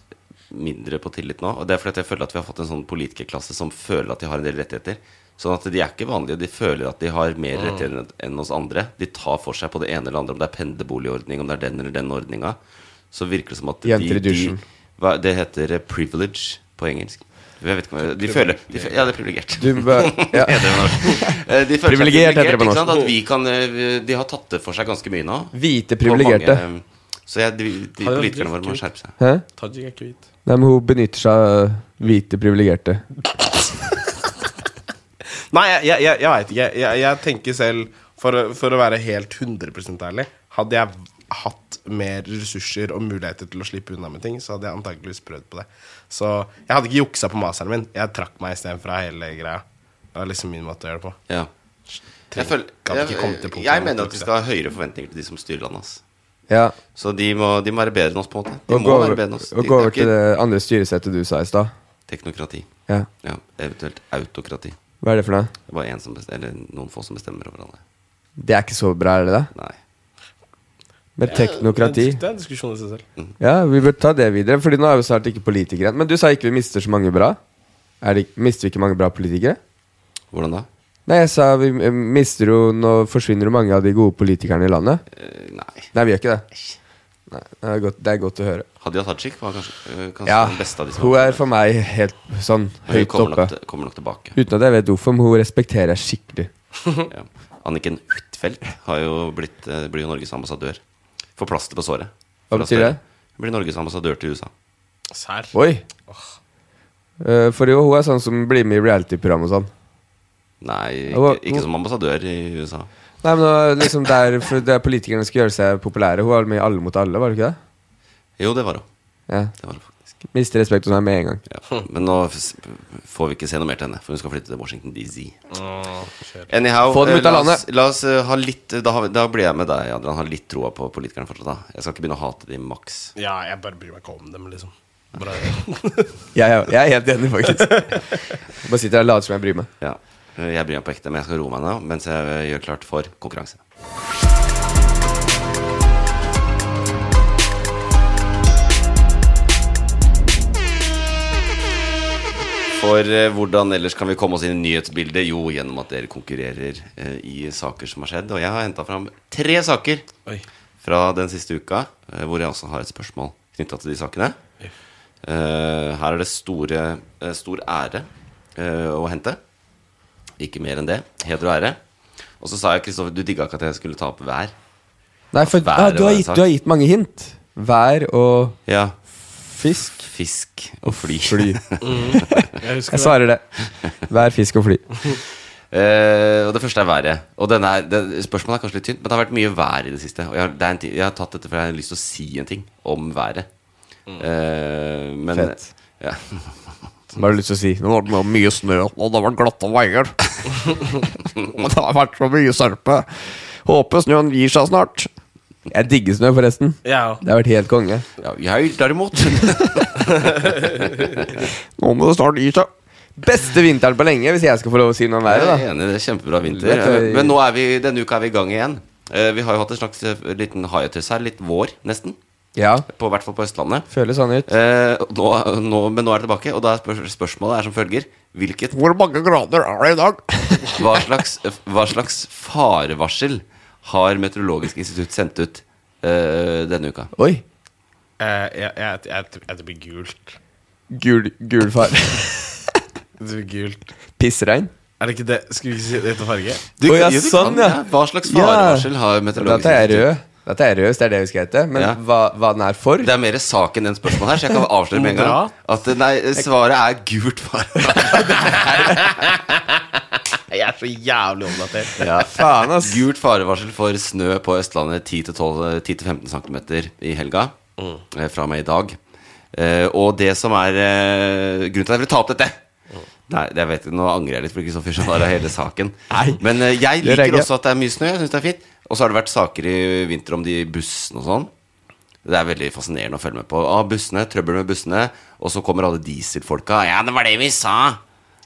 mindre på tillit nå. Og det er fordi at jeg føler at vi har fått en sånn politikerklasse som føler at de har en del rettigheter. Sånn at de er ikke vanlige. De føler at de har mer
Mm.
rettigheter enn- enn oss andre. De tar for seg på det ene eller andre, om det er pendlerboligordning, om det er den eller den ordninga. Så virker det som at
Jenter i
de,
dusjen.
hva, Det heter eh, privilege på engelsk. Jeg vet ikke om jeg, de føler de, fø- Ja, det er privilegert.
Du bør- ja.
Heter det på norsk. Eh, De føler seg
Privilegert heter det på
privilegert, ikke
norsk.
sant? At vi kan, eh, de har tatt det for seg ganske mye nå.
Hvite
På
privilegerte.
mange, eh, Så jeg, de, de
Hadde vært
politikerne våre må
kult.
skjerpe seg.
Hæ?
Tajik er ikke hvit.
Nei, men hun benytter seg av hvite privilegerte.
Nei, jeg, jeg, jeg, jeg veit ikke. Jeg, jeg, jeg tenker selv, for, å- for å være helt 100 ærlig Hadde jeg hatt mer ressurser og muligheter til å slippe unna med ting, så hadde jeg antakeligvis prøvd på det. Så jeg hadde ikke juksa på masteren min. Jeg trakk meg istedenfra hele greia. Det var liksom min måte å gjøre det på.
Ja. Jeg, føler,
Kan ikke komme til
jeg,
punktet
jeg
om
mener at
jukse.
vi skal ha høyere forventninger til de som styrer landet. ass.
Ja.
Så de må, de må være bedre enn oss, på en måte. De
Og
må
gå
være
over,
bedre enn oss. De,
og gå
det
over
er
til
ikke
det andre styresettet du sa i stad.
teknokrati.
Ja.
Ja, eventuelt autokrati. Det
Hva er det for noe?
er bare en som bestemmer, eller noen få som bestemmer over alle.
Det er ikke så bra, er det det?
Nei.
Med teknokrati.
Det er en diskusjon i seg
Mm.
selv.
Ja, vi bør ta det videre, Fordi nå er vi snart ikke politikere igjen. Men du sa ikke vi mister så mange bra. Er det, ikke- mister vi ikke mange bra politikere?
Hvordan da?
Nei, jeg sa vi eh, mister jo Nå forsvinner jo mange av de gode politikerne i landet.
Eh, nei.
Nei, vi gjør ikke det. Nei, det, er godt, det er godt å høre. Altså,
Hadia Tajik var kanskje, eh, kanskje
Ja,
den beste av de som
hun
har-
er for meg helt sånn
Hun
høyt
kommer
oppe.
nok, til- kommer nok tilbake.
Uten at jeg vet hvorfor, men hun respekterer jeg skikkelig.
Ja. Anniken Huitfeldt har jo blitt, eh, blir jo Norges ambassadør. Får plaster på såret.
Hva
Fra
betyr
Støre.
det?
Hun blir Norges ambassadør til USA.
Sær.
Oi! Eh, For jo, hun er sånn som blir med i reality-program og sånn.
Nei,
Hva-
ikke, ikke som ambassadør i USA.
Nei, men det var liksom der, for der politikerne skulle gjøre seg populære. Hun var med i Alle mot alle, var det ikke det?
Jo, det var hun.
Ja.
Det var hun faktisk.
Mister respekt hos meg med en gang.
Ja. Men nå f- s- får vi ikke se noe mer til henne, for hun skal flytte til Washington DC.
Åh,
Anyhow,
Få dem
eh,
ut av
la oss-
landet.
La oss eh, ha litt Da, har vi- da blir jeg med deg, Adrian. Har litt troa på politikerne fortsatt. da Jeg skal ikke begynne å hate de maks.
ja, jeg bare bryr meg ikke om dem, liksom. Bare,
Ja, ja, jeg er helt enig, faktisk. Jeg Bare sitter her og later som jeg bryr meg.
Ja. Eh, Jeg bryr meg på ekte, men jeg skal roe meg nå mens jeg eh, gjør klart for konkurranse. For eh, hvordan ellers kan vi komme oss inn i nyhetsbildet? Jo, gjennom at dere konkurrerer eh, i saker som har skjedd. Og jeg har henta fram tre saker
oi.
fra den siste uka, eh, hvor jeg også har et spørsmål knytta til de sakene. Eh, her er det store, eh, stor ære eh, å hente. Ikke mer enn det. Heder og ære. Og så sa jeg Kristoffer, du digga ikke at jeg skulle ta opp hver.
Nei, for
Været
ah, du,
var en
har gitt,
sak.
du har gitt mange hint. Vær og
Ja,
fisk.
Fisk og fly. Mm.
Fly.
Jeg husker
Jeg svarer det. Vær fisk og fly.
Eh, og det første er været. Og denne er, det, spørsmålet er kanskje litt tynt, men det har vært mye vær i det siste. Og jeg, har- det er en, ting- jeg har tatt dette fordi jeg har lyst til å si en ting om været. Eh, men,
Mm. Fett.
Ja.
Hva har du lyst til å si? Nå var det mye snø, og det har vært glatte veier. og det har vært så mye sørpe. Håper snøen gir seg snart. Jeg digger snø, forresten.
Ja.
Det har vært helt konge.
jeg derimot
Nå må det snart gi seg. Beste vinteren på lenge, hvis jeg skal få lov å si noe om været.
Jeg er
da
enig, det er kjempebra vinter.
Vet du-
Men nå er vi, denne uka er vi i gang igjen. Eh, Vi har jo hatt en slags eh, liten hiatus her. Litt vår, nesten.
Ja.
På, I hvert fall på Østlandet.
Føles sånn ut.
Eh, nå, nå, men nå er det tilbake, og da er spør spørsmålet er som følger Hvilket
Hvor mange grader er det i dag?
hva, slags, hva slags farevarsel har Meteorologisk institutt sendt ut eh, denne uka?
Oi.
Eh, jeg, jeg, jeg, jeg, det blir gult.
Gul, gul far.
Det blir gult.
Pissregn.
Er det ikke det? Skal vi ikke si det heter farge?
Du-
Å, ja,
jo, du
sånn,
kan,
ja.
ja. Hva slags farevarsel har Meteorologisk
Dette er
institutt?
rød. Dette er rød, hvis det er det vi skal hete. Men
Ja.
hva, hva den er for?
Det er mer saken enn spørsmålet her, så jeg kan avsløre med en gang at eh, nei, svaret er gult farevarsel.
Jeg er så jævlig oppdatert.
Ja.
Faen, ass.
Gult farevarsel for snø på Østlandet 10-12 10-15 cm i helga eh, fra og med i dag. Eh, og det som er eh, Grunnen til at jeg ville ta opp dette
Mm.
Nei, jeg vet ikke, Nå angrer jeg litt, for Kristoffer skjønner hele saken. Men eh, jeg
Det
liker
reagerer.
også at det er mye snø. Jeg synes det er fint Og så har det vært saker i vinter om de bussene og sånn. Det er veldig fascinerende å følge med på. Ah, bussene, Trøbbel med bussene. Og så kommer alle dieselfolka. Ja, det var det vi sa!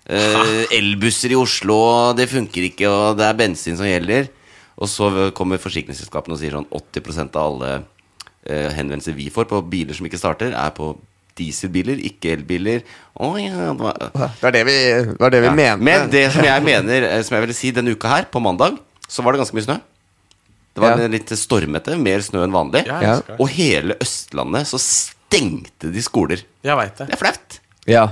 Eh, elbusser i Oslo, og det funker ikke, og det er bensin som gjelder. Og så kommer forsikringsselskapene og sier sånn 80 av alle eh, henvendelser vi får på biler som ikke starter, er på dieselbiler, ikke elbiler. Å ja, det var
Det var det vi, det var det vi
ja.
mente.
Men det som jeg mener eh, Som jeg ville si denne uka her, på mandag, så var det ganske mye snø. Det var
Ja.
en litt stormete, mer snø enn vanlig.
Ja, ja, så klart.
Og hele Østlandet så stengte de skoler.
Jeg veit
Det
det.
er flaut!
Ja.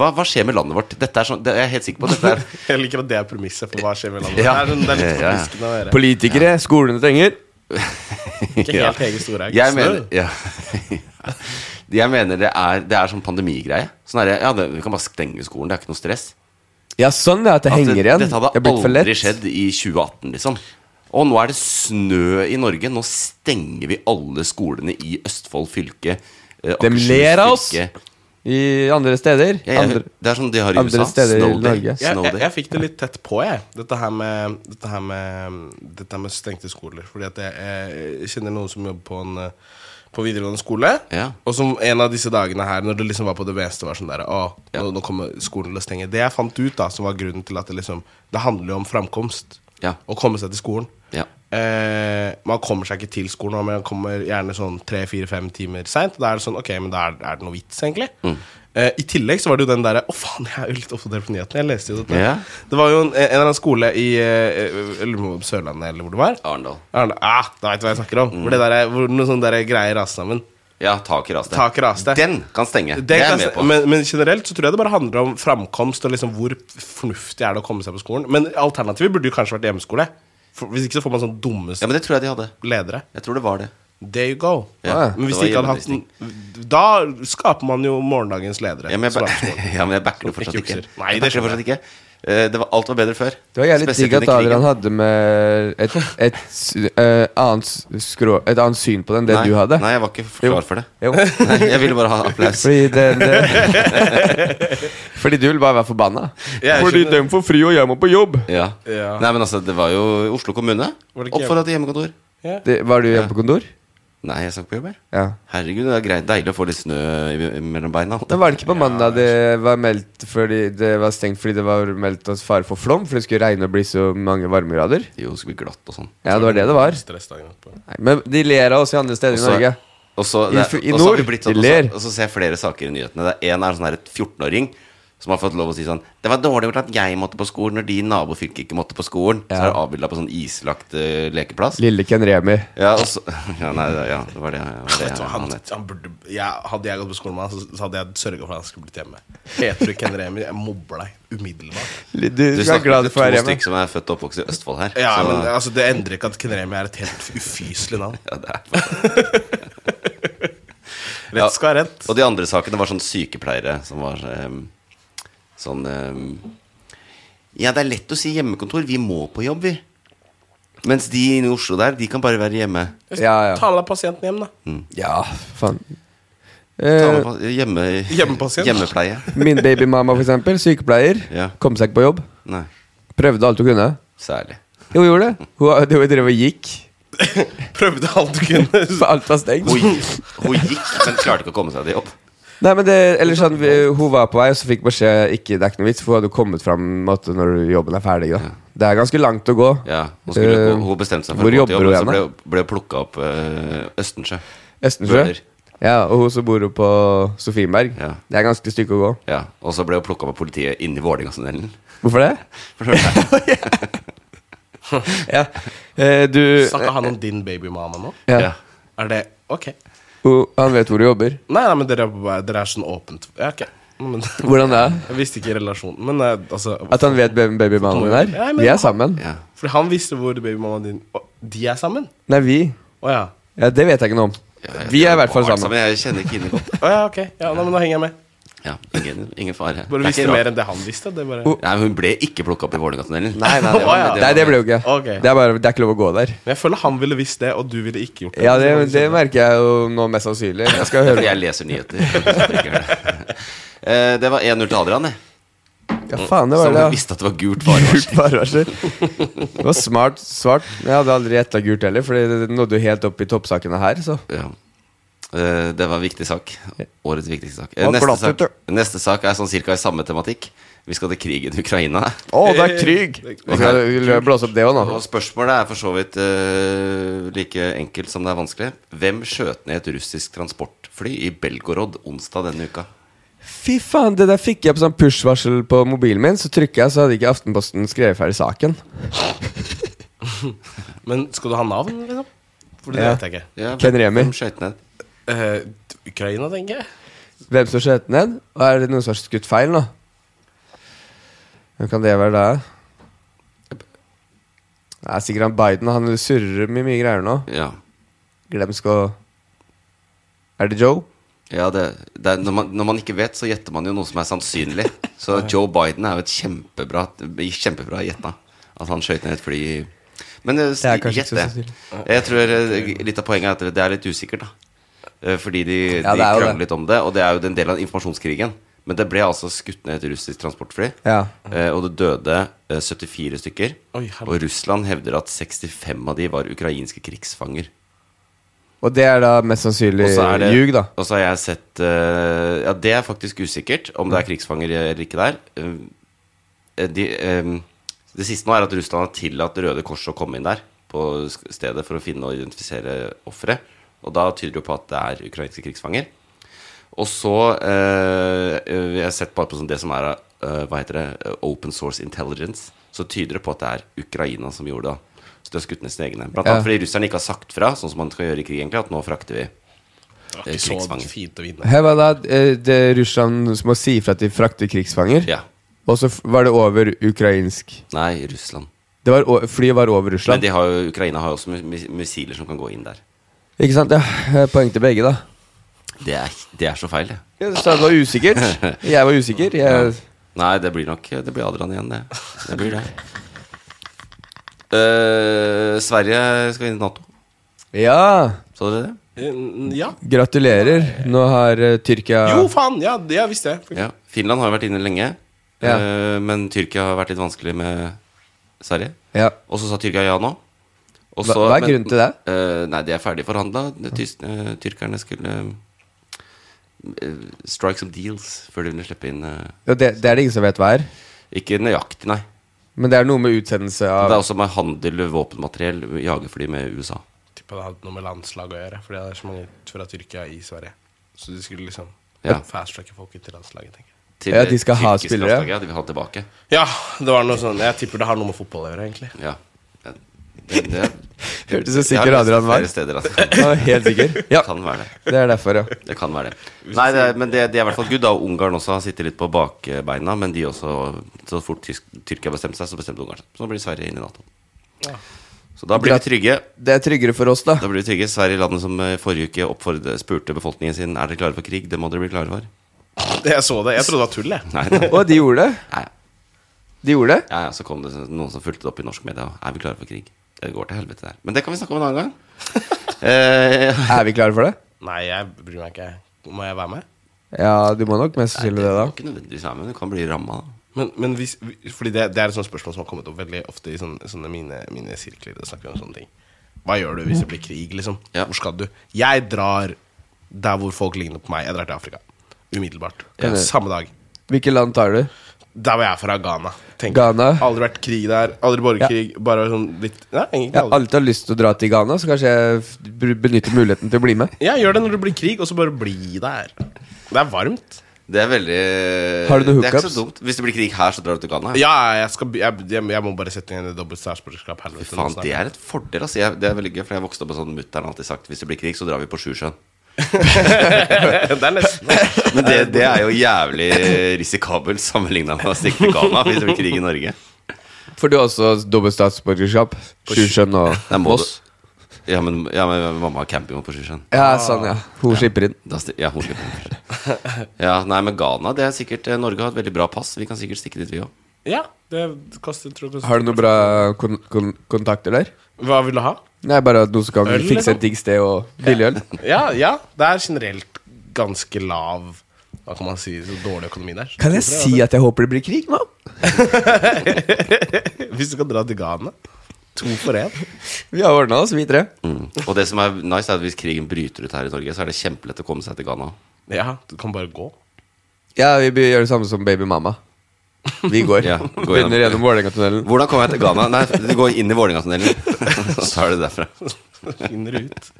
Hva, hva skjer med landet vårt? Dette er sånn, det er jeg helt sikker på at dette er
Jeg liker at det er premisset for hva skjer med landet.
Ja.
Det er, sånn, det er litt
Ja, ja.
forfriskende å høre.
Politikere, skolene trenger.
Ikke helt Hege Storhaug.
Jeg
Snø.
mener, ja. jeg mener det er, det er sånn pandemigreie. Sånn er det, ja, det, vi kan bare stenge skolen, det er ikke noe stress.
Ja, sånn ja, at det
At
henger igjen.
Dette
Det
hadde
er blitt for lett.
aldri skjedd i 2018, liksom. Og nå er det snø i Norge. Nå stenger vi alle skolene i Østfold fylke. eh,
Dem
Akershus
ler av oss.
fylke.
I andre steder.
Ja, jeg,
Andre,
det er sånn de har i
andre
USA.
steder i
Snow day.
Norge.
Jeg,
Snow
jeg,
day.
jeg fikk det litt tett på, jeg. Dette her med, dette her med, dette her med stengte skoler. Fordi at jeg, jeg kjenner noen som jobber på en eh, på videregående skole.
Ja.
Og som en av disse dagene her, når det liksom var på det beste, var sånn der Å, nå, nå kommer skolen til å stenge. Det jeg fant ut, da, som var grunnen til at det liksom Det handler jo om framkomst.
Ja.
Å komme seg til skolen.
Ja.
Eh, man kommer seg ikke til skolen, men man kommer gjerne sånn tre-fire-fem timer seint. Da er det sånn Ok, men da er, er det noe vits, egentlig.
Mm.
Eh, I tillegg så var det jo den derre Å, faen, jeg er jo litt oppdatert på nyhetene. Jeg leste jo dette.
Ja.
Det var jo en, en eller annen skole i eh, jeg lurer på om Sørlandet, eller hvor det var.
Arendal.
Arendal. Ah, da veit du hva jeg snakker om.
Mm.
Hvor, det der, er- hvor noen sånne der greier raser sammen.
Ja, tak i raste.
Tak raste.
Den kan stenge. Det,
Det
er
kan
jeg med
jeg-
på.
men, men generelt så tror jeg det bare handler om framkomst og liksom hvor fornuftig er det å komme seg på skolen. Men alternativet burde jo kanskje vært hjemmeskole. For, hvis ikke så får man sånn dumme
ja, men det tror jeg de hadde.
ledere.
Jeg tror det var det.
There you go.
Ja,
men hvis
det
de ikke
var
hadde hatt den Da skaper man jo morgendagens ledere.
Ja, men jeg,
som
ba
er på skolen.
ja, men jeg backer det
Som ikke
fortsatt ikke.
jukser. Nei,
Jeg
det
backer det
skjønner
fortsatt ikke. Eh, Det var, alt var bedre før.
Det var jævlig
Spesielt
digg at
under krigen.
Adrian hadde med et, et, s- eh, annet, s- skrå, et annet syn på den enn det
nei,
du hadde.
Nei, jeg var ikke klar
Jo.
for det.
Jo.
Nei, jeg ville bare ha applaus.
Fordi, det, det, fordi du vil bare være forbanna.
Ja, jeg skjønner.
dem får fri, og jeg må på jobb.
Ja.
Ja.
Nei, men altså, det var jo Oslo kommune.
Var det ikke
Oppfordra til hjemmekontor.
Ja.
Det, var du hjemme på kontor?
Nei, jeg skal ikke på jobb, jeg.
Ja.
Herregud, det er greit, deilig å få litt snø i- mellom beina.
Men var det ikke på mandag det var meldt fordi det var stengt fordi det var meldt oss fare for flom? For det skulle regne og bli så mange varmegrader?
Jo, det skal bli glatt og sånn.
Ja, det var det det var.
Stress dagen etterpå.
Nei, men de ler av oss i andre steder i
Også-
Norge.
Og så,
I
det,
f- i
og så har vi
nord,
blitt sånn,
de
og
ler.
så, og så ser jeg flere saker i nyhetene. Det er en er sånn her et 14-åring som har fått lov å si sånn Det var dårlig gjort at jeg måtte på skolen når de i nabofylket ikke måtte på skolen. Så
Ja.
er det avbilda på sånn islagt eh, lekeplass.
Lille Ken Remi.
Ja, og så, ja, nei, ja, det var det, ja, det, var
Vet du
det
hva,
han
han,
het.
han burde, jeg, hadde jeg gått på skolen med han, så, så hadde jeg sørga for at han skulle blitt hjemme. Heter du Ken Remi, jeg mobber deg umiddelbart.
Du, du
Du
skal være
snakker
glad
til
for å
to
være hjemme.
stykker som er født og oppvokst i Østfold her.
Ja,
så-
men altså, Det endrer ikke at Ken Remi er et helt ufyselig navn.
ja, det er Ja.
Rett skal være rett.
Og de andre sakene var sånn sykepleiere som var ehm, sånn ehm, Ja, det er lett å si hjemmekontor. Vi må på jobb, vi. Mens de inne i Oslo der, de kan bare være hjemme.
Ja, ja.
Ta med deg pasienten hjem, da.
ja faen.
Ta
Eh,
med på- hjemme,
Hjemmepasient.
Hjemmepleie.
Min babymamma, for eksempel, sykepleier,
Ja.
kom seg ikke på jobb.
Nei,
Prøvde alt hun kunne.
særlig.
Jo, hun gjorde det. Hun, har- hun drev og gikk.
Mm.
Prøvde alt du kunne.
For alt var stengt.
Hun gikk, hun gikk, men klarte ikke å komme seg til jobb.
Nei, men det, eller sånn, vi- hun var på vei, og så fikk beskjed ikke, det er ikke noe vits, for hun hadde kommet fram måtte, når jobben er ferdig. Da. Det er ganske langt å gå.
Ja, hun, skulle,
Eh,
hun- hun bestemte seg for
hvor
å gå til
jobber
jobb,
hun
men så ble,
hen, da?
ble plukka opp eh, Østensjø.
Østensjø?
Brøler.
Ja, og hun som bor oppe på Sofienberg. Det er ganske stykke å gå.
Ja, og så ble hun plukka opp av politiet inni Vålerenga-tunnelen.
Hvorfor det? ja. Eh, du
Snakka han om din babymama nå?
Ja. Ja.
Er det Ok.
Hun- Han vet hvor du jobber.
Nei, nei, men dere er, bare, dere er sånn åpent ja, ok. men,
Hvordan det er?
Jeg visste ikke relasjonen, men eh, altså
At han vet hvem babymannen din
Ja,
er?
men
Vi er
han-
sammen.
Fordi han visste hvor babymammaen din Å, De er sammen?
Nei, vi.
Å ja.
Ja, det vet jeg ikke noe om. Vi er i hvert fall sammen.
Jeg kjenner ikke henne godt.
Å ja, ok. Ja, nei, men da henger jeg med.
Ja, ingen, ingen fare. Det
Bare
er
visste
ikke rart.
mer enn det han visste. Det er bare
Nei, hun ble ikke plukka opp i Vålerenga-tunnelen.
Nei, nei, det var- Å, ja.
Nei, det ble jo ikke.
Ok.
Det, er bare, det er ikke lov å gå der.
Men jeg føler han ville visst det, og du ville ikke gjort det.
Ja, det, det merker jeg jo nå mest sannsynlig. Jeg skal høre
Fordi Sånn jeg leser nyheter. Eh, det var 1-0 til Adrian, det.
Ja, faen, det var
Som
det, ja.
visste at det var gult varevarsel.
Varevarsel. Det var smart svart. Jeg hadde aldri gjetta gult heller, Fordi det nådde jo helt opp i toppsakene her. Så.
Eh, det var en viktig sak. Årets viktigste sak. Eh,
Og
neste,
glatt,
sak
vet
neste sak er sånn cirka i samme tematikk. Vi skal til krigen i Ukraina.
Å, det er krig! Vi skal blåse opp det òg nå.
Og spørsmålet er for så vidt eh, like enkelt som det er vanskelig. Hvem skjøt ned et russisk transportfly i Belgorod onsdag denne uka?
Fy faen, det der fikk jeg på sånn push-varsel på mobilen min. Så trykka jeg, så hadde ikke Aftenposten skrevet ferdig saken.
Men skal du ha navn, liksom? For det
Ja.
vet jeg ikke. Eh,
Ja, Ken hvem- Remi. hvem
skøyt ned?
Ukraina, tenker jeg.
Hvem som skjøt ned? Og er det noen som har skutt feil nå? Hvem kan det være da? Det er sikkert han Biden. Han surrer med mye greier nå.
Ja.
Glemsk å Er det Joe?
Ja, det, det er, når, man, når man ikke vet, så gjetter man jo noe som er sannsynlig. Så Joe Biden er jo et kjempebra Kjempebra gjetta. At han skøyt ned et fly i- Men eh,
Det er kanskje
gjett
ikke så
det. Jeg tror eh, litt av poenget er at det er litt usikkert, da. Eh, Fordi de,
Ja,
de
det er jo
krangler
det.
litt om det, og det er jo en del av informasjonskrigen. Men det ble altså skutt ned et russisk transportfly,
Ja.
eh, og det døde eh, 74 stykker.
Oi, helvete.
og Russland hevder at 65 av de var ukrainske krigsfanger.
Og det er da mest sannsynlig
Og så er det-
ljug, da.
Og så har jeg sett eh, Ja, det er faktisk usikkert om det er krigsfanger eller ikke der. Eh, de, eh, det siste nå er at Russland har tillatt Røde Kors å komme inn der på sk- stedet for å finne og identifisere ofre. Og da tyder det jo på at det er ukrainske krigsfanger. Og så eh, eh, Jeg har sett bare på sånn det som er eh, Hva heter det? Eh, Open source intelligence. Så tyder det på at det er Ukraina som gjorde det. Så de har skutt ned sine egne. Blant
Ja.
annet fordi russerne ikke har sagt fra, sånn som man skal gjøre i krig, egentlig, at nå frakter vi
Det er
eh,
ikke så
krigsfanger.
fint å vinne.
Her var da eh, det er Russland som må si ifra at de frakter krigsfanger.
Ja.
Og så f- var det over ukrainsk
Nei, Russland.
det var, o- Flyet var over
Men
Russland.
de har jo, Ukraina har jo også mis- mis- missiler som kan gå inn der.
Ikke sant? Ja, eh, Poeng til begge, da.
Det er, det er så feil, det.
Ja, du sa det var usikkert. Jeg var usikker. Jeg,
Nei, det blir nok Det blir Adrian igjen, det. Det blir det. Eh, Sverige skal inn i Nato.
ja!
Så dere det?
Eh, Ja.
Gratulerer. Nå har eh, Tyrkia
Jo, faen! Ja, det jeg visste jeg.
Ja. Finland har jo vært inne lenge,
Ja.
eh, men Tyrkia har vært litt vanskelig med Sverige.
Ja.
Og så sa Tyrkia ja nå. Og
Hva-
så-
hva er
men-
grunnen til det?
Eh, nei, de er ferdig forhandla. Tyrkerne skulle eh, strike some deals før de ville slippe inn eh,
Og det, det er det ingen som vet hva er.
Ikke nøyaktig, nei.
Men det er noe med utsendelse av
Det er også med handel, våpenmateriell, jagerfly med USA.
Tippa det hadde noe med landslag å gjøre, fordi det er så mange fra Tyrkia i Sverige. Så de skulle liksom
Ja.
fast-tracke folk til landslaget, tenker jeg.
Til
Ja, de skal
det
ha
tyrkiske
spillere.
landslaget, Ja, de vil ha det tilbake.
Ja, det var noe sånn Jeg tipper det har noe med fotball å gjøre, egentlig.
Ja. Det, det, det,
Hørtes så
Jeg har
sikker
lest det
Adrian var.
Flere steder,
Han var
altså.
helt sikker. Ja.
Kan være det.
Det er derfor, ja.
Det kan være det. Nei, det, er- men det, det er i hvert fall good, da. Og Ungarn også har sittet litt på bakbeina. Men de også Så fort tysk, Tyrkia bestemte seg, så bestemte Ungarn seg. Så nå blir Sverige inn i Nato. Så da blir vi trygge.
Det er tryggere for oss, da.
Da blir vi trygge. Sverige, landet som eh, forrige uke oppfordre- spurte befolkningen sin er dere klare for krig. Det må dere bli klare for.
Jeg så det. Jeg trodde det var tull, jeg.
Nei, nei.
Og de gjorde det?
Nei.
De gjorde det?
Ja, ja, så kom det noen som fulgte det opp i norsk media. og Er vi klare for krig? Det går til helvete der. Men det kan vi snakke om en annen gang. Eh,
Er vi klare for det?
Nei, jeg bryr meg ikke. Må jeg være med?
Ja, du må nok mest
Nei,
sannsynlig det, da.
må ikke nødvendigvis være med, men du kan bli ramma. da.
Men, men hvis, fordi det, det er et sånt spørsmål som har kommet opp veldig ofte i sånne, sånne mine, mine sirkler. Det snakker vi om sånne ting Hva gjør du hvis det blir krig? liksom? Hvor skal du? Jeg drar der hvor folk ligner på meg. Jeg drar til Afrika. Umiddelbart.
Kan du-
Samme dag.
Hvilke land tar du?
Der var jeg fra, Ghana. tenker jeg.
Ghana?
Aldri vært krig der. Aldri borgerkrig. Bare sånn litt Nei,
Jeg
egentlig
har
aldri.
alltid hatt lyst til å dra til Ghana, så kanskje jeg f- br- benytter muligheten til å bli med.
Ja, gjør det når det blir krig, og så bare bli der. Det er varmt.
Det er veldig
Har du noen
Det er ikke
hookups?
så dumt. Hvis det blir krig her, så drar du til Ghana.
Ja, jeg, skal, by- jeg, jeg, jeg må bare sette inn i dobbelt statsborgerskap. helvete, nå
Faen,
snart.
det er et fordel, altså. Jeg, det er veldig gøy, for jeg vokste opp med sånn mutter'n alltid sagt hvis det blir krig, så drar vi på Sjusjøen.
det er nesten
Men det, det er jo jævlig risikabelt sammenligna med å stikke til Ghana hvis det blir krig i Norge.
For du har også dobbelt statsborgerskap. Sjusjøen og
Nei, må
Moss.
du- Ja men, ja, men mamma har camping på Sjusjøen.
Ja, sånn, ja. Hun slipper inn.
Da sti- Ja, hun slipper inn. Ja, nei, men Ghana, det er sikkert eh, Norge har et veldig bra pass. Vi kan sikkert stikke dit, vi òg.
Ja, det koster, tror jeg, koster-
Har du noen bra kon kon kontakter der?
Hva vil du ha?
Nei, bare at noen som kan
Øl,
fikse
liksom?
et digg sted og billig øl.
Ja, ja, det er generelt ganske lav Hva kan man si? Så dårlig økonomi der.
Kan jeg si at jeg håper det blir krig nå?
Hvis du kan dra til Ghana. To for én.
Vi har ordna oss, vi tre.
Mm. Og det som er nice, er at hvis krigen bryter ut her i Norge, så er det kjempelett å komme seg til Ghana.
Ja, du kan bare gå.
Ja, vi bør gjøre det samme som Baby Mama. Vi går.
Ja, gå gjennom-
Begynner gjennom Vålerenga-tunnelen.
Hvordan kommer jeg til Ghana? Nei, du går inn i Vålerenga-tunnelen. Så tar du det derfra.
Finner ut.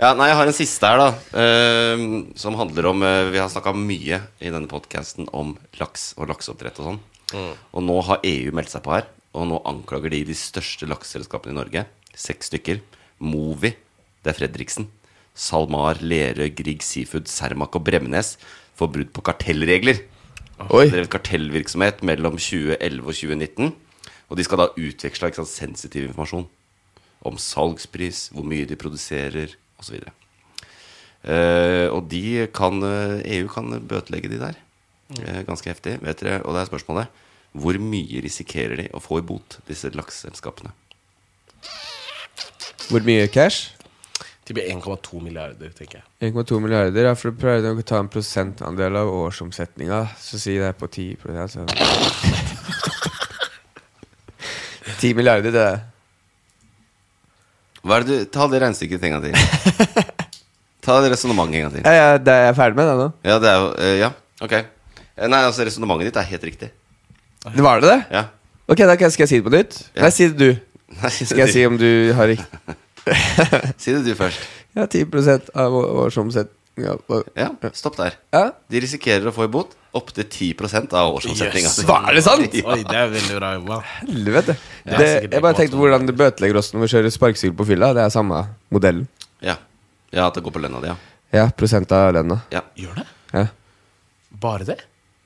Ja, nei, jeg har en siste her, da. eh, som handler om eh, Vi har snakka mye i denne podkasten om laks og lakseoppdrett og sånn.
Mm.
Og nå har EU meldt seg på her, og nå anklager de de største lakseselskapene i Norge. Seks stykker. Movi, det er Fredriksen. SalMar, Lerøe, Grieg Seafood, Cermaq og Bremnes for brudd på kartellregler.
Oi.
Drevet kartellvirksomhet mellom 2011 og 2019. Og de skal da utveksle ikke sant, sensitiv informasjon om salgspris, hvor mye de produserer, osv. Uh, og de kan, eh, EU kan bøtelegge de der.
Mm.
Eh, ganske heftig. Vet dere, og det er spørsmålet hvor mye risikerer de å få i bot, disse lakseselskapene?
Hvor mye cash?
Det blir 1,2 milliarder, tenker jeg.
1,2 milliarder. Ja, for du prøver å ta en prosentandel av årsomsetninga, så si det er på 10 så. 10 milliarder, det er
Hva er det du, ta det regnestykket en gang til. Ta det resonnementet en gang til.
ja, ja, det er jeg ferdig med det nå.
Ja, det er jo eh, Ja, ok. Eh, Nei, altså, resonnementet ditt er helt riktig.
Det Var det det?
Ja.
Ok, da kan- skal jeg si det på nytt. Nei, si det du.
Nei, si det
skal jeg
du.
si om du har riktig
Si det du først.
Ja, 10 av å- årsomsetninga.
Ja, stopp der.
Ja.
De risikerer å få i bot opptil 10 av årsomsetninga.
Yes, hva er det sant?
Oi, det er veldig bra jobba.
Helvete.
Ja.
Det,
Det er sikkert
jeg bare
ikke
tenkte hvordan det bøtelegger oss når vi kjører sparkesykkel på fylla. Det er samme modellen.
Ja. ja, at det går på lønna di, ja.
Ja, prosent av lønna.
Ja.
Gjør det?
Ja.
Bare det?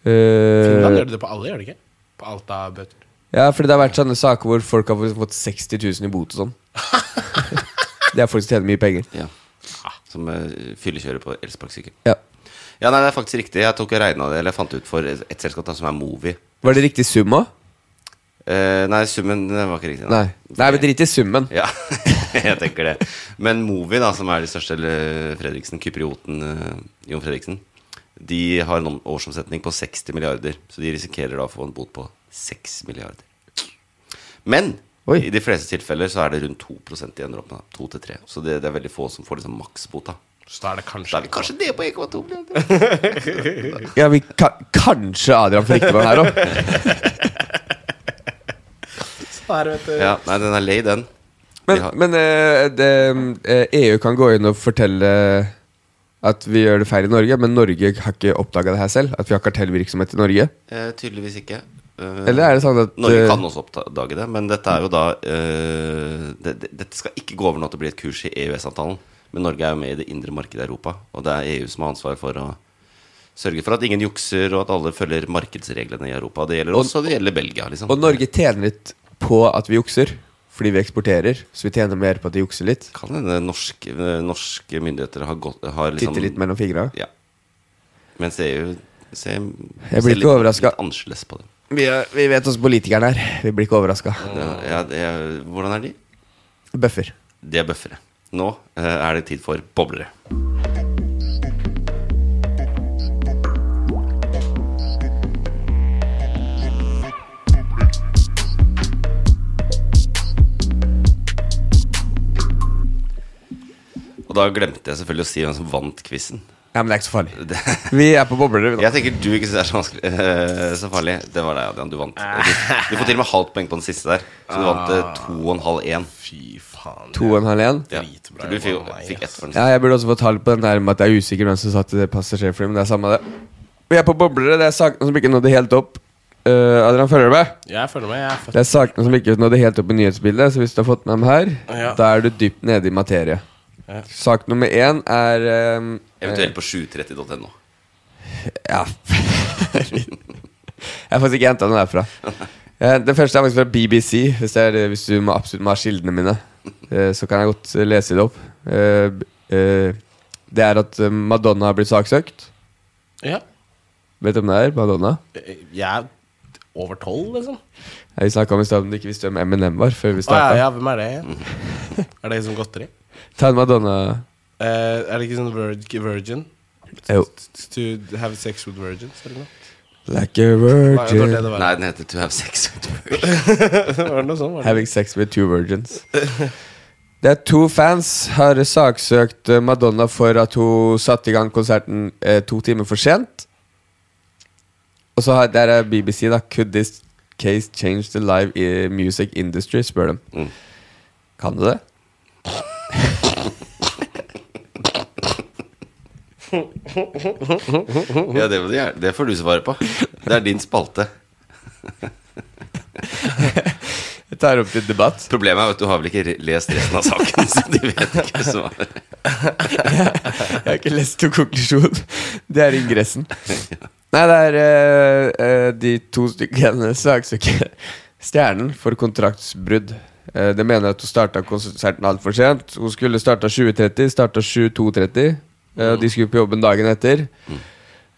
Finland
Eh,
gjør det på alle, gjør det ikke? På alt av bøter.
ja, fordi det har vært sånne saker hvor folk har fått 60 000 i bot og sånn. det er folk som tjener mye penger.
ja.
Ah.
Som eh, fyllekjører på elsparkesykkel.
Ja.
Ja, nei, det er faktisk riktig. Jeg tok og regnet det, eller jeg fant ut for et et selskap da, som er Movi.
Var det riktig sum òg?
Eh, nei, summen eh, var ikke riktig.
Nei. Nei, men drit i summen.
Ja, jeg tenker det. Men Movi, da, som er de største, eller Fredriksen, kyprioten eh, Jon Fredriksen, de har en om- årsomsetning på 60 milliarder. Så de risikerer da å få en bot på 6 milliarder. Men i de fleste tilfeller så er det rundt 2 de ender opp med. 2-3. Så det, det er veldig få som får liksom maksbota.
Så da er det kanskje
Da er vi kanskje nede på 1,2 milliarder.
Ja, vi ka Kanskje Adrian får riktig på den her òg.
Der, vet du.
Ja, nei, den er lei, den.
Men,
De har-
men eh, det, eh, EU kan gå inn og fortelle at vi gjør det feil i Norge, men Norge har ikke oppdaga det her selv. At vi har kartellvirksomhet i Norge.
Eh, tydeligvis ikke. Eh,
Eller er det sånn at,
Norge
eh,
kan også oppdage det, men dette er jo da eh, det, det, Dette skal ikke gå over nå til å bli et kurs i EØS-avtalen. Men Norge er jo med i det indre markedet i Europa, og det er EU som har ansvar for å sørge for at ingen jukser, og at alle følger markedsreglene i Europa. Det gjelder også, det gjelder Belgia, liksom.
Og Norge tjener litt på at vi jukser, fordi vi eksporterer. Så vi tjener mer på at de jukser litt.
Kan hende norske, norske myndigheter har, gått, har liksom
Titter litt mellom fingra.
Ja. Mens EU ser,
Jeg blir
ser
ikke
litt-
overraska.
litt annerledes på det.
Vi, er, vi vet oss politikerne her. Vi blir ikke overraska.
det, ja, det er- hvordan er de?
Bøffer.
De er bøffere. Nå eh, er det tid for boblere. da glemte jeg selvfølgelig å si hvem som vant quizen.
Ja, men det er ikke så farlig. Vi er på bobler.
Jeg tenker du ikke syns det er så, vanskelig, eh, så farlig. Det var deg, Adrian. Du vant. Du, du får til og med halvt poeng på den siste der. Så du vant eh, to og en halv én. Fy faen.
To og en halv igjen.
Ja. For du fikk, jo- fikk ett for den
Ja, jeg burde også få tall på den der med at jeg er usikker hvem som satt i det passasjerflyet, men det er samme det. Vi er på boblere. Det er sakene som ikke nådde helt opp. Eh, Adrian, følger du med?
Jeg følger med. Jeg er født.
Det er sakene som ikke nådde helt opp i nyhetsbildet, så hvis du har fått med dem her,
Ja.
da er du dypt nede i materie.
Ja.
Sak nummer én er ehm,
Eventuelt på 730.no.
Ja Jeg har faktisk ikke henta den derfra. Eh, Den første er faktisk fra BBC, hvis, det er, det- hvis du må, absolutt må ha kildene mine. Eh, Så kan jeg godt eh, lese det opp. Eh, b- eh, Det er at eh, Madonna har blitt saksøkt.
Ja.
Vet du hvem det er? Madonna?
Jeg er over tolv, liksom.
Eh, Vi snakka om i stad om du ikke visste hvem Eminem var før vi
Å ja,
starta.
ja, hvem er det igjen? er det sånn godteri?
Ta en Madonna
Eh, er det ikke sånn virg- virgin?
Jo.
To have sex with virgins, eller noe?
Like a
Nei, det var det
virgin
det var.
Nei, den heter To Have Sex With
var det noe sånt? Var det?
Having sex with two virgins. Det er to fans har saksøkt eh, Madonna for at hun satte i gang konserten eh, to timer for sent. Og så har, der er BBC, da. Could this case change the live i- music industry? spør de. Kan det det?
Ja, det, må du gjerne- det får du svare på. Det er din spalte.
Jeg tar opp til debatt.
Problemet er jo at du har vel ikke re- lest resten av saken, så de vet ikke svaret.
Jeg har ikke lest noen konklusjon. Det er ingressen. Nei, det er eh, eh, de to stykkene saksøker Stjernen for kontraktsbrudd. Eh, det mener at hun starta konserten altfor sent. Hun skulle starta 20.30, starta 22.30. eh,
Mm.
og de skulle på jobben dagen etter.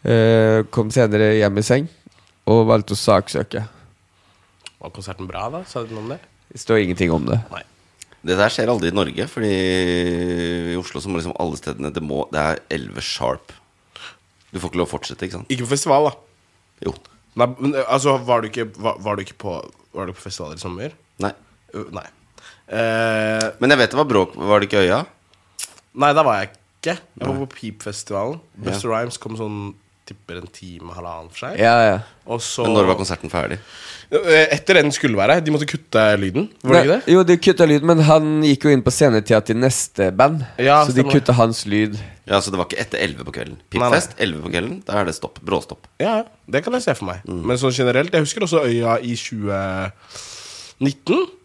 Eh, kom senere hjem i seng og valgte å saksøke.
Var konserten bra, da? Sa du noe om det?
Det står ingenting om det.
Det der skjer aldri i Norge, fordi i Oslo så må liksom alle stedene Det, må, det er 11 sharp. Du får ikke lov å fortsette, ikke sant?
Ikke på festival, da.
Jo.
Nei, men eh, altså, var du ikke, var, var du ikke på Var du på festivaler i sommer?
Nei.
Uh, Nei. Eh,
Men jeg vet det var bråk. Var det ikke Øya?
nei, da var jeg ikke. Jeg var på Peep-festivalen. Buster
Ja.
Rhymes kom sånn tipper en time, halvannen for seg.
Ja, ja.
Og så
Men når var konserten ferdig?
Eh, Etter den skulle være. De måtte kutte lyden. Var det
Nei,
ikke det?
Jo, de kutta lyd, men han gikk jo inn på scenetida til neste band,
Ja,
så de
stemmer det.
kutta hans lyd.
Ja, Så det var ikke etter 11 på kvelden.
Nei, nei.
Pippfest 11 på kvelden, da er det stopp. Bråstopp.
Ja, ja, det kan jeg se for meg.
Mm.
Men sånn generelt Jeg husker også Øya i 2019.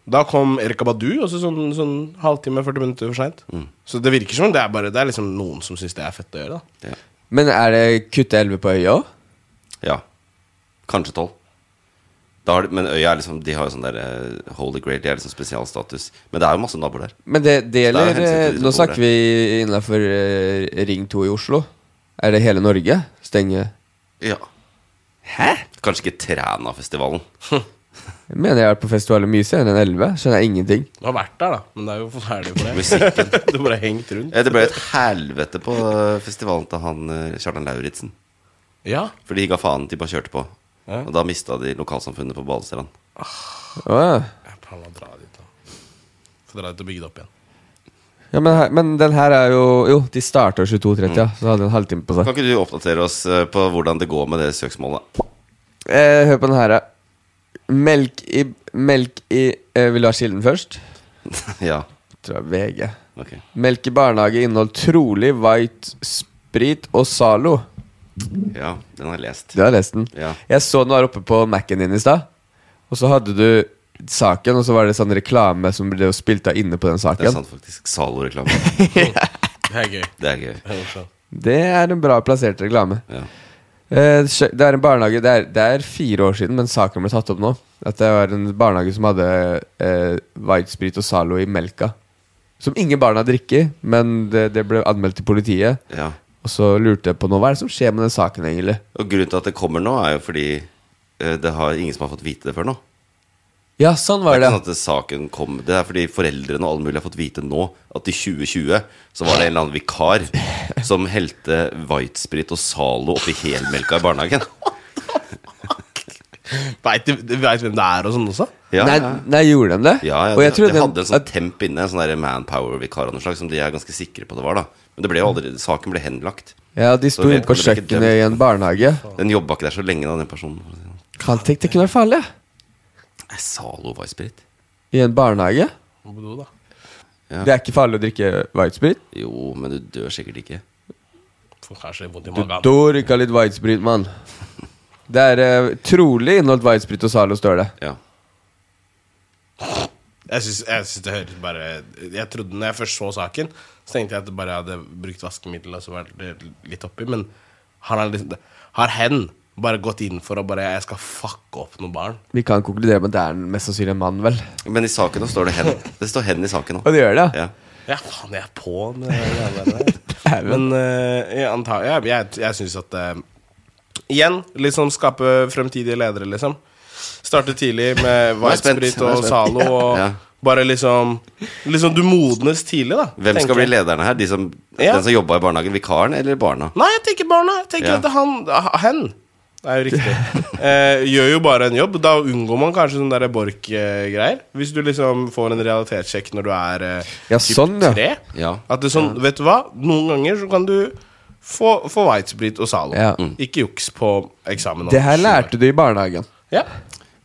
Da kom Erika Badu, også sånn, sånn halvtime, 40 minutter for seint.
Mm.
Så det virker som om det er bare Det er liksom noen som syns det er fett å gjøre, da.
Ja.
Men er det kutta 11 på øya òg?
ja. Kanskje 12. Da har de, men Øya er liksom, de har jo sånn der eh, Holy Grail, de er liksom spesialstatus. Men det er jo masse naboer der.
Men det, det
Så det er
gjelder
hensyn til de
eh,
som
Nå
bor der.
snakker vi innafor Ring 2 i Oslo. Er det hele Norge? Stenge
Ja. Hæ? Kanskje ikke Trænafestivalen.
Jeg mener jeg har vært på festivaler mye senere enn 11. Skjønner jeg ingenting.
Du har vært der, da, men det er jo ferdig for deg.
Musikken.
Du har bare hengt rundt.
Eh, Det ble et helvete på eh, festivalen til han eh, Kjartan Lauritzen.
Ja.
For de ga faen, de bare kjørte på. Og da mista de lokalsamfunnet på Balestrand.
Åh.
Jeg planla å dra dit, da. Få dra dit og bygge det opp igjen.
Ja, men, her- men den her er jo Jo, de starta 22.30, ja. Så hadde de en halvtime på
Kan
seg.
ikke du oppdatere oss eh, på hvordan det går med det søksmålet?
Eh, hør på den her, da. Melk i Melk i eh, Vil du ha kilden først?
ja,
Tror jeg VG.
ok
Melk i barnehage inneholdt trolig white sprit og Zalo.
Ja, den har jeg lest.
Du har lest den?
Ja.
Jeg så den var oppe på Mac-en din i stad. Og så hadde du saken, og så var det sånn reklame som ble spilt av inne på den
Det er
saken.
sant, faktisk. Zalo-reklame.
Det er gøy.
Det er gøy.
Det er morsomt.
Det er en bra plassert reklame.
Ja.
Eh, skjø- Det er en barnehage Det er, det er fire år siden, men saken ble tatt opp nå. At det var en barnehage som hadde eh, whitesprit og Zalo i melka. Som ingen barna drikker, men det, det ble anmeldt til politiet.
ja.
Og så lurte jeg på nå, hva er det som skjer med den saken, egentlig?
Og grunnen til at det kommer nå, er jo fordi eh, det har ingen som har fått vite det før nå.
Ja, sånn
Det
var
er
det.
ikke sånn at det- saken kom Det er fordi foreldrene og alle mulige har fått vite nå at i 2020 så var det en eller annen vikar som helte whitesprit og Zalo oppi helmelka i barnehagen.
Veit du du vet hvem det er og sånn også?
Nei, nei, gjorde de det?
Ja, ja
Og jeg
de,
trodde
de
den-
hadde en sånn temp inne, en sånn der manpower-vikar av noe slag, som de er ganske sikre på det var, da. Men det ble jo aldri, saken ble henlagt.
Ja, de
Så
sto inne
vedkommende
på
ble ikke
kjøkkenet i en barnehage.
dømt. Den jobba ikke der så lenge, da, den personen.
Kan tenk det kunne være farlig.
Nei, Zalo var sprit.
I en barnehage?
Ja.
Det er ikke farlig å drikke whitesprit?
Jo, men du dør sikkert ikke.
Får kanskje vondt i
Du
magen.
dør ikke av litt whitesprit, mann. Det er eh, trolig inneholdt whitesprit og Zalo, står det.
Ja.
Jeg syns, jeg syns det høres bare Jeg trodde Når jeg først så saken, så tenkte jeg at det bare hadde brukt vaskemiddel og så vært det litt oppi, men har, han liksom, har hen bare gått inn for å bare Jeg skal fucke opp noen barn?
Vi kan konkludere med at det er en- mest sannsynlig en mann, vel.
Men i saken nå står det hen. Det står hen i saken nå.
Og det gjør det,
ja.
Ja, faen, jeg er på med det greiene der. Men eh, jeg, antar, jeg, jeg, jeg syns at eh, Igjen, liksom skape fremtidige ledere, liksom. Starte tidlig med
Nå er jeg spent.
Whitesprit
Nå er jeg
og
spent.
Zalo og
Ja.
bare liksom Liksom Du modnes tidlig, da.
Hvem
tenker
skal bli
jeg.
lederne her? De som,
Ja.
Den som jobba i barnehagen? Vikaren eller barna?
Nei, jeg tenker barna. Jeg tenker
Ja.
at han Hen. Det er jo riktig. Eh, gjør jo bare en jobb. Da unngår man kanskje sånne der Borch-greier. Hvis du liksom får en realitetssjekk når du er eh,
Ja,
typ
sånn, ja.
tre.
Ja.
At det er sånn, vet du hva, noen ganger så kan du få, få Whitesprit og Zalo. Mm.
Ja.
Ikke juks på eksamen. om
Det her
sju år.
lærte du i barnehagen.
Ja.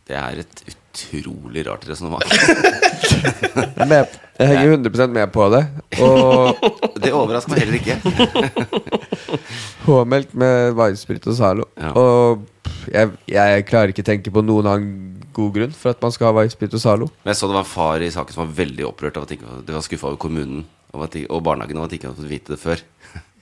Det er et utrolig rart resonnement.
Jeg er med. Jeg henger 100 med på det. Og
Det overrasker meg heller ikke.
Påmeldt med varesprit og Zalo.
Ja.
Og pff, jeg, jeg klarer ikke tenke på noen annen god grunn for at man skal ha varesprit og Zalo.
Men jeg så det var en far i saken som var veldig opprørt av at de ikke, de var skuffa over kommunen og, at de, og barnehagen over at de ikke hadde fått vite det før.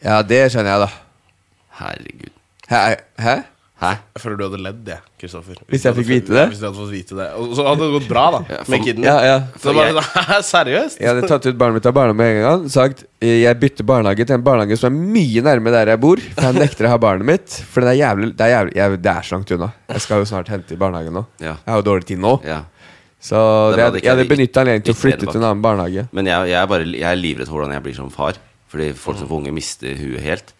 Ja, det skjønner jeg, da.
Herregud.
Hæ? Hæ?
Hæ?
Jeg føler du hadde ledd, jeg, Kristoffer.
Hvis
du
jeg
hadde
fikk
fått-
vite det?
Hvis du hadde fått vite det. Og så hadde det gått bra, da.
Ja, for-
med kiden.
Ja, ja.
Så bare sånn, Seriøst?
Jeg hadde tatt ut barnet mitt av barnehagen med en gang. Sagt eh, jeg bytter barnehage til en barnehage som er mye nærme der jeg bor. For jeg nekter å ha barnet mitt. For det er jævlig Det er, jævlig, jeg, det er så langt unna. Jeg skal jo snart hente i barnehagen nå.
Ja.
Jeg har jo dårlig tid nå.
ja.
Så
Den
det,
hadde ikke
jeg hadde
jeg-
benytta anledningen til å
ikke
flytte
tilbake.
til en annen barnehage.
Men jeg, jeg, er bare, jeg er livredd for hvordan jeg blir som far. Fordi folk
Mm.
som får unge, mister huet helt.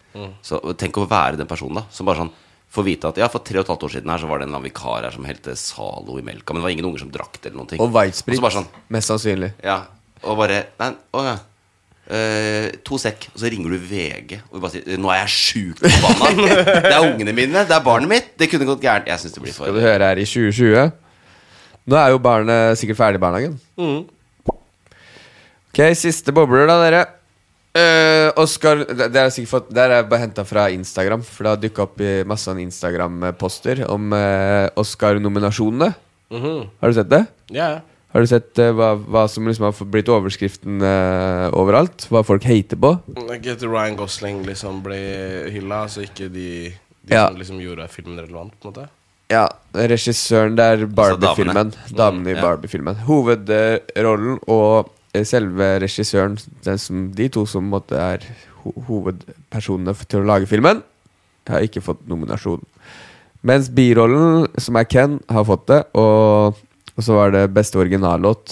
Så tenk å være den personen da som bare sånn får vite at ja, for tre og et halvt år siden her så var det en eller annen vikar her som helte Zalo i melka. Men det var ingen unger som drakk det eller noen ting.
Og
Og
whitesprit.
så bare sånn
Mest sannsynlig.
Ja, og bare Nei, å ja. Eh, to sekk, og så ringer du VG og bare sier 'Nå er jeg sjukt forbanna'. det er ungene mine, det er barnet mitt. Det kunne gått gærent. Jeg syns det blir
Skal du
for
høre her i 2020 Nå er jo barnet sikkert ferdig i barnehagen
Mm.
Ok, siste bobler da, dere Eh, Oscar, det det har jeg sikkert fått Det her er bare hentet fra Instagram For det har dukket opp i masse sånne Instagram-poster Om eh, Oscar-nominasjonene Har du sett det?
Ja, ja.
Har du sett eh, hva, hva som liksom har blitt overskriften eh, overalt? Hva folk hater på?
Ikke at Ryan Gosling liksom ble hylla, så ikke de, de
Ja.
som liksom gjorde filmen relevant, på en måte.
Ja, regissøren der Barbie-filmen.
Altså, damene. Mm,
Damene i
ja.
Barbie-filmen. Hovedrollen og eh, selve regissøren, den som, de to som måtte er ho hovedpersonene f- til å lage filmen, har ikke fått nominasjon. Mens birollen, som er Ken, har fått det. Og, og så var det beste originallåt,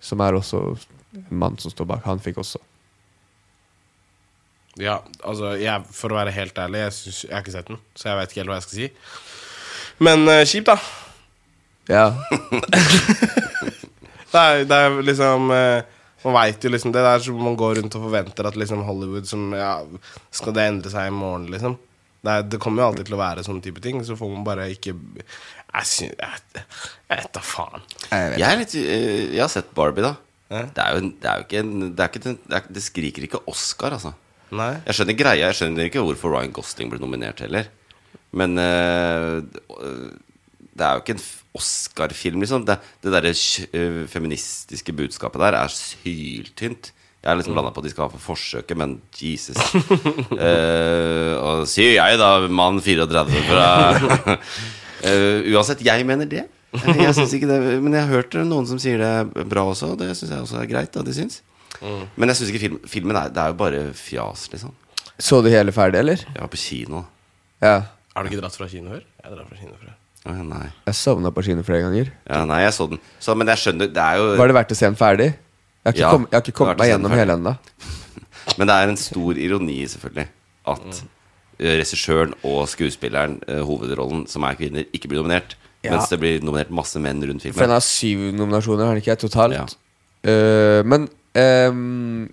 som er også en mann som står bak. Han fikk også.
Ja, altså, jeg, for å være helt ærlig, jeg, syns- jeg har ikke sett den, så jeg veit ikke helt hva jeg skal si. Men eh, kjipt, da.
Ja,
Det er, det er liksom eh, Man veit jo liksom det. Det er som man går rundt og forventer at liksom Hollywood som ja, Skal det endre seg i morgen, liksom? Det, er, det kommer jo alltid til å være sånne type ting. Så får man bare ikke Jeg syns Jeg jeg vet da faen.
jeg, er litt, eh, jeg har sett Barbie, da.
Ja.
Det er jo, en- det er jo ikke en Det, er ikke, den- det, er, det skriker ikke Oscar, altså.
Nei.
Jeg skjønner greia, jeg skjønner ikke hvorfor Ryan Gosling ble nominert heller. Men eh, det er jo ikke en f- Oscar-film, liksom. Det, det derre kj- eh, feministiske budskapet der er syltynt. Jeg er liksom blanda på at de skal ha for forsøket, men Jesus. Eh, og sier jeg, da, mann 34 fra Eh, Uansett, jeg mener det. Eh, Jeg synes ikke det. Men jeg har hørt noen som sier det bra også, og det syns jeg også er greit. Da, de syns. Men jeg syns ikke film, filmen er, Det er jo bare fjas, liksom.
Så du hele ferdig, eller?
Jeg var på kino.
Ja.
Har du ikke dratt fra kino før? Jeg drar fra kino før.
Å, nei.
Jeg sovna på kino flere ganger.
Ja, nei, jeg så den. Så, men jeg skjønner Det er jo
Var det verdt å se den ferdig? Jeg har ikke
Ja,
kommet, jeg har ikke
det var
kommet
verdt å
meg
se den
gjennom
ferdig.
hele ennå.
Men det er en stor ironi, selvfølgelig, at eh, regissøren og skuespilleren, eh, hovedrollen, som er kvinner, ikke blir nominert.
Ja.
Mens det blir nominert masse menn rundt
For den
filmen.
har syv nominasjoner, har den ikke? Totalt. Eh, men ehm,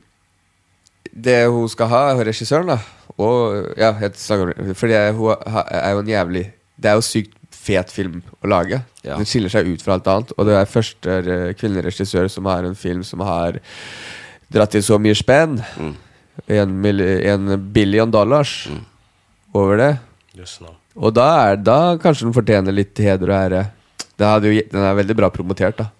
det hun skal ha, er regissøren, da. Og ja, jeg snakker om det. Fordi hun ha- er jo en jævlig Det er jo sykt fet film å lage.
Ja.
Den skiller seg ut fra alt annet. Og det er første eh, kvinnelige regissør som har en film som har dratt inn så mye spenn.
Mm.
En, mil- en billion dollars over det.
Jøss, navn.
Og da, er, da kanskje den fortjener litt heder og ære. Den, hadde jo, gitt- den er veldig bra promotert, da.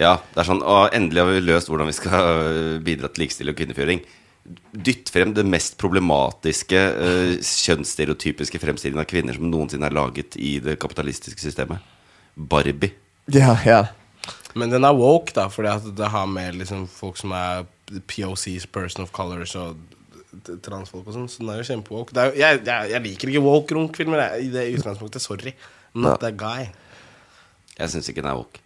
Ja, det er sånn Å, endelig har vi løst hvordan vi skal øh, bidra til likestilling og kvinnefjøring. Dytt frem det mest problematiske, øh, kjønnsstereotypiske fremstillingen av kvinner som noensinne er laget i det kapitalistiske systemet. Barbie.
Ja, ja.
Men den er woke, da, fordi at det har med liksom, folk som er POCs, person of colors og t- transfolk og sånn. Så den er jo kjempewoke. Det er jo, jeg, jeg, jeg liker ikke woke runkfilmer jeg, i det utgangspunktet. Sorry. I'm Not that guy.
Jeg syns ikke den er woke.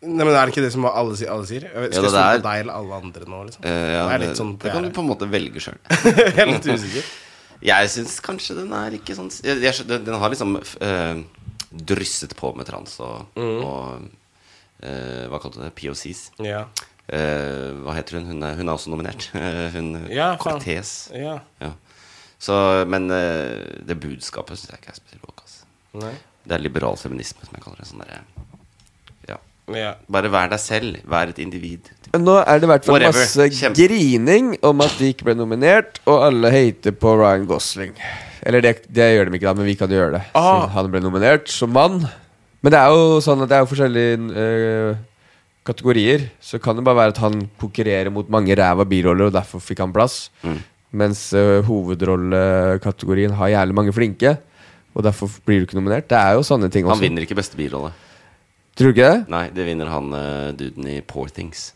Nei, men Er det ikke det som alle, sier- alle sier? Jeg vet-
Ja,
Skal jeg
det
stole
er-
på deg eller alle andre nå? liksom?
Eh, ja,
det er
det,
litt sånn
det kan du på en måte velge sjøl.
Jeg er litt usikker.
Jeg syns kanskje den er ikke sånn jeg, jeg, skjø- den, den har liksom f- eh, drysset på med trans og,
Mhm.
og eh, Hva kalte du det? POCs.
Ja.
Eh, hva heter hun? Hun er, hun er også nominert. Eh, hun
Ja, faen.
Cortez.
Ja.
Så, men eh, det budskapet syns jeg ikke er spesielt woke. ass.
Nei.
Det er liberal feminisme, som jeg kaller det. Sånn derre ja.
Ja.
Bare vær deg selv. Vær et individ.
Nå er det i hvert fall
Whatever.
masse
Kjempe-
grining om at de ikke ble nominert, og alle hater på Ryan Gosling. Eller det, det gjør de ikke, da, men vi kan jo gjøre det.
Ah.
Siden han ble nominert som mann. Men det er jo sånn at det er jo forskjellige eh, kategorier. Så kan det bare være at han konkurrerer mot mange ræva biroller, og derfor fikk han plass.
Mm.
Mens eh, hovedrollekategorien har jævlig mange flinke, og derfor blir du ikke nominert. Det er jo sånne ting også.
Han vinner ikke beste birolle.
Tror du ikke det?
Nei, det vinner han eh, duden i Poor Things.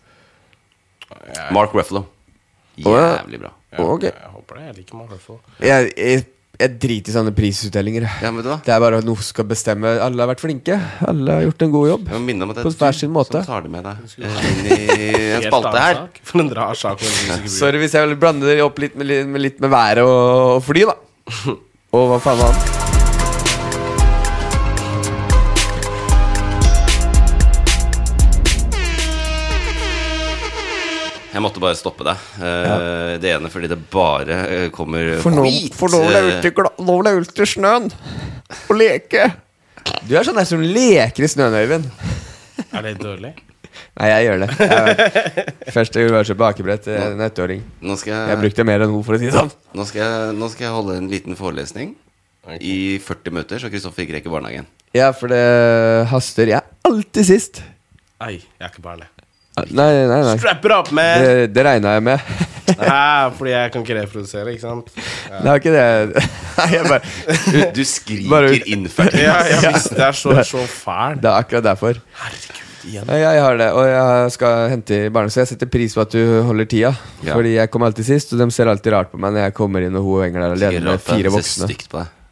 Mark Ruffalo.
Å, ja.
Jævlig bra.
Ok.
Jeg håper det. Jeg liker meg i hvert fall.
Jeg, jeg, jeg driter i sånne prisutdelinger. Det er bare at noe skal bestemme. Alle har vært flinke. Alle har gjort en god jobb.
Jeg må minne om at det
På
er
hver
du
sin måte.
som tar det med deg eh, inn i en
Helt
spalte
annen
her.
sak. For en rar sak. men det er sikkert-
Sorry hvis jeg vil blande dere opp litt med, litt- med, litt med været og, og fly, da. Og hva faen annet.
Jeg måtte bare stoppe deg. Eh, Det ene fordi det bare eh, kommer
For nå,
hvit,
for nå vil jeg
eh,
ut i gla- nå vil jeg ut i snøen og leke. Du er sånn der som leker i snøen, Øyvind.
Er det dårlig?
Nei, jeg gjør det. Jeg, først jeg ville bare kjøpe akebrett til eh, en ettåring.
Nå skal jeg-
Jeg brukte mer enn hun, for å si det sånn.
nå, skal jeg, nå skal jeg holde en liten forelesning i 40 minutter, så Kristoffer ikke rekker barnehagen.
Ja, for det haster. Jeg er alltid sist.
Ei, jeg er ikke barn, jeg.
Nei, nei, nei. nei.
Strap it up,
Eh.
man!
Det, det regna jeg med.
Nei, fordi jeg kan ikke reprodusere, ikke sant? Ja.
Det er ikke det Nei, jeg bare
Du, du skriker
Bare-
innført.
Ja, jeg visste det er så, så fæl.
Det er akkurat derfor.
igjen.
Nei, Jeg har det, og jeg skal hente i barne, så jeg setter pris på at du holder tida.
Ja.
Fordi jeg kommer alltid sist, og de ser alltid rart på meg når jeg kommer inn og hun og Engel er alene med
Det
fire
ser
voksne.
stygt på deg.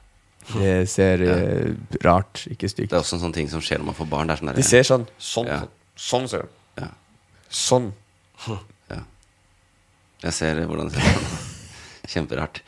Det ser eh, rart, ikke stygt.
Det er også en sånn ting som skjer når man får barn. Det er sånn der-
De ser sånn.
Ja.
Sånn ser de.
Ja.
Sånn.
Jeg ser hvordan det ser ut. Kjemperart.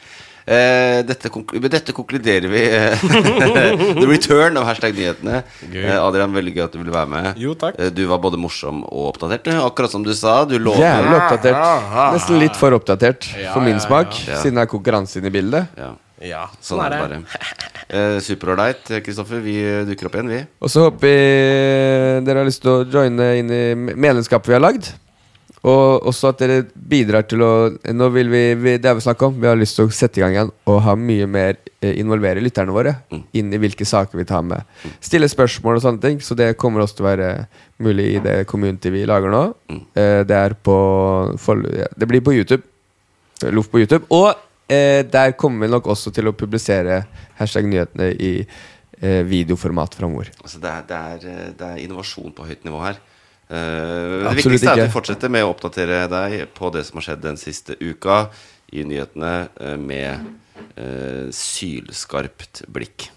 Eh, dette, konk med dette konkluderer vi eh, the return av hashtag nyhetene.
Gøy.
Eh, Adrian, veldig gøy at du ville være med.
Jo, takk.
Eh, du var både morsom og oppdatert, du. akkurat som du sa. Du lover.
Jævlig oppdatert. Nesten litt for oppdatert
Ja,
for
ja,
min smak,
ja.
siden det er konkurranse inne i bildet.
Ja,
Ja,
sånn er det bare. Eh, Superålreit, Kristoffer. Vi eh, dukker opp igjen, vi.
Og så håper vi dere har lyst til å joine inn i medlemskapet vi har lagd. Og også at dere bidrar til å Nå vil vi, vi Det er vi snakk om. Vi har lyst til å sette i gang igjen og ha mye mer eh, involvere lytterne våre inn i hvilke saker vi tar med. Stille spørsmål og sånne ting. Så det kommer også til å være mulig i det community vi lager nå. Eh, Det er på for, ja, Det blir på YouTube. Loff på YouTube. Og eh, der kommer vi nok også til å publisere hashtag nyhetene i eh, videoformat framover.
Altså, det, er, det, er, eh, det er innovasjon på høyt nivå her. Eh, det
Absolutt
viktigste er at
ikke.
vi fortsetter med å oppdatere deg på det som har skjedd den siste uka i nyhetene eh, med eh, sylskarpt blikk.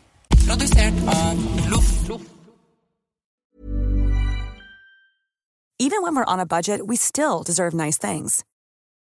Even when we're on a budget, we still deserve nice things.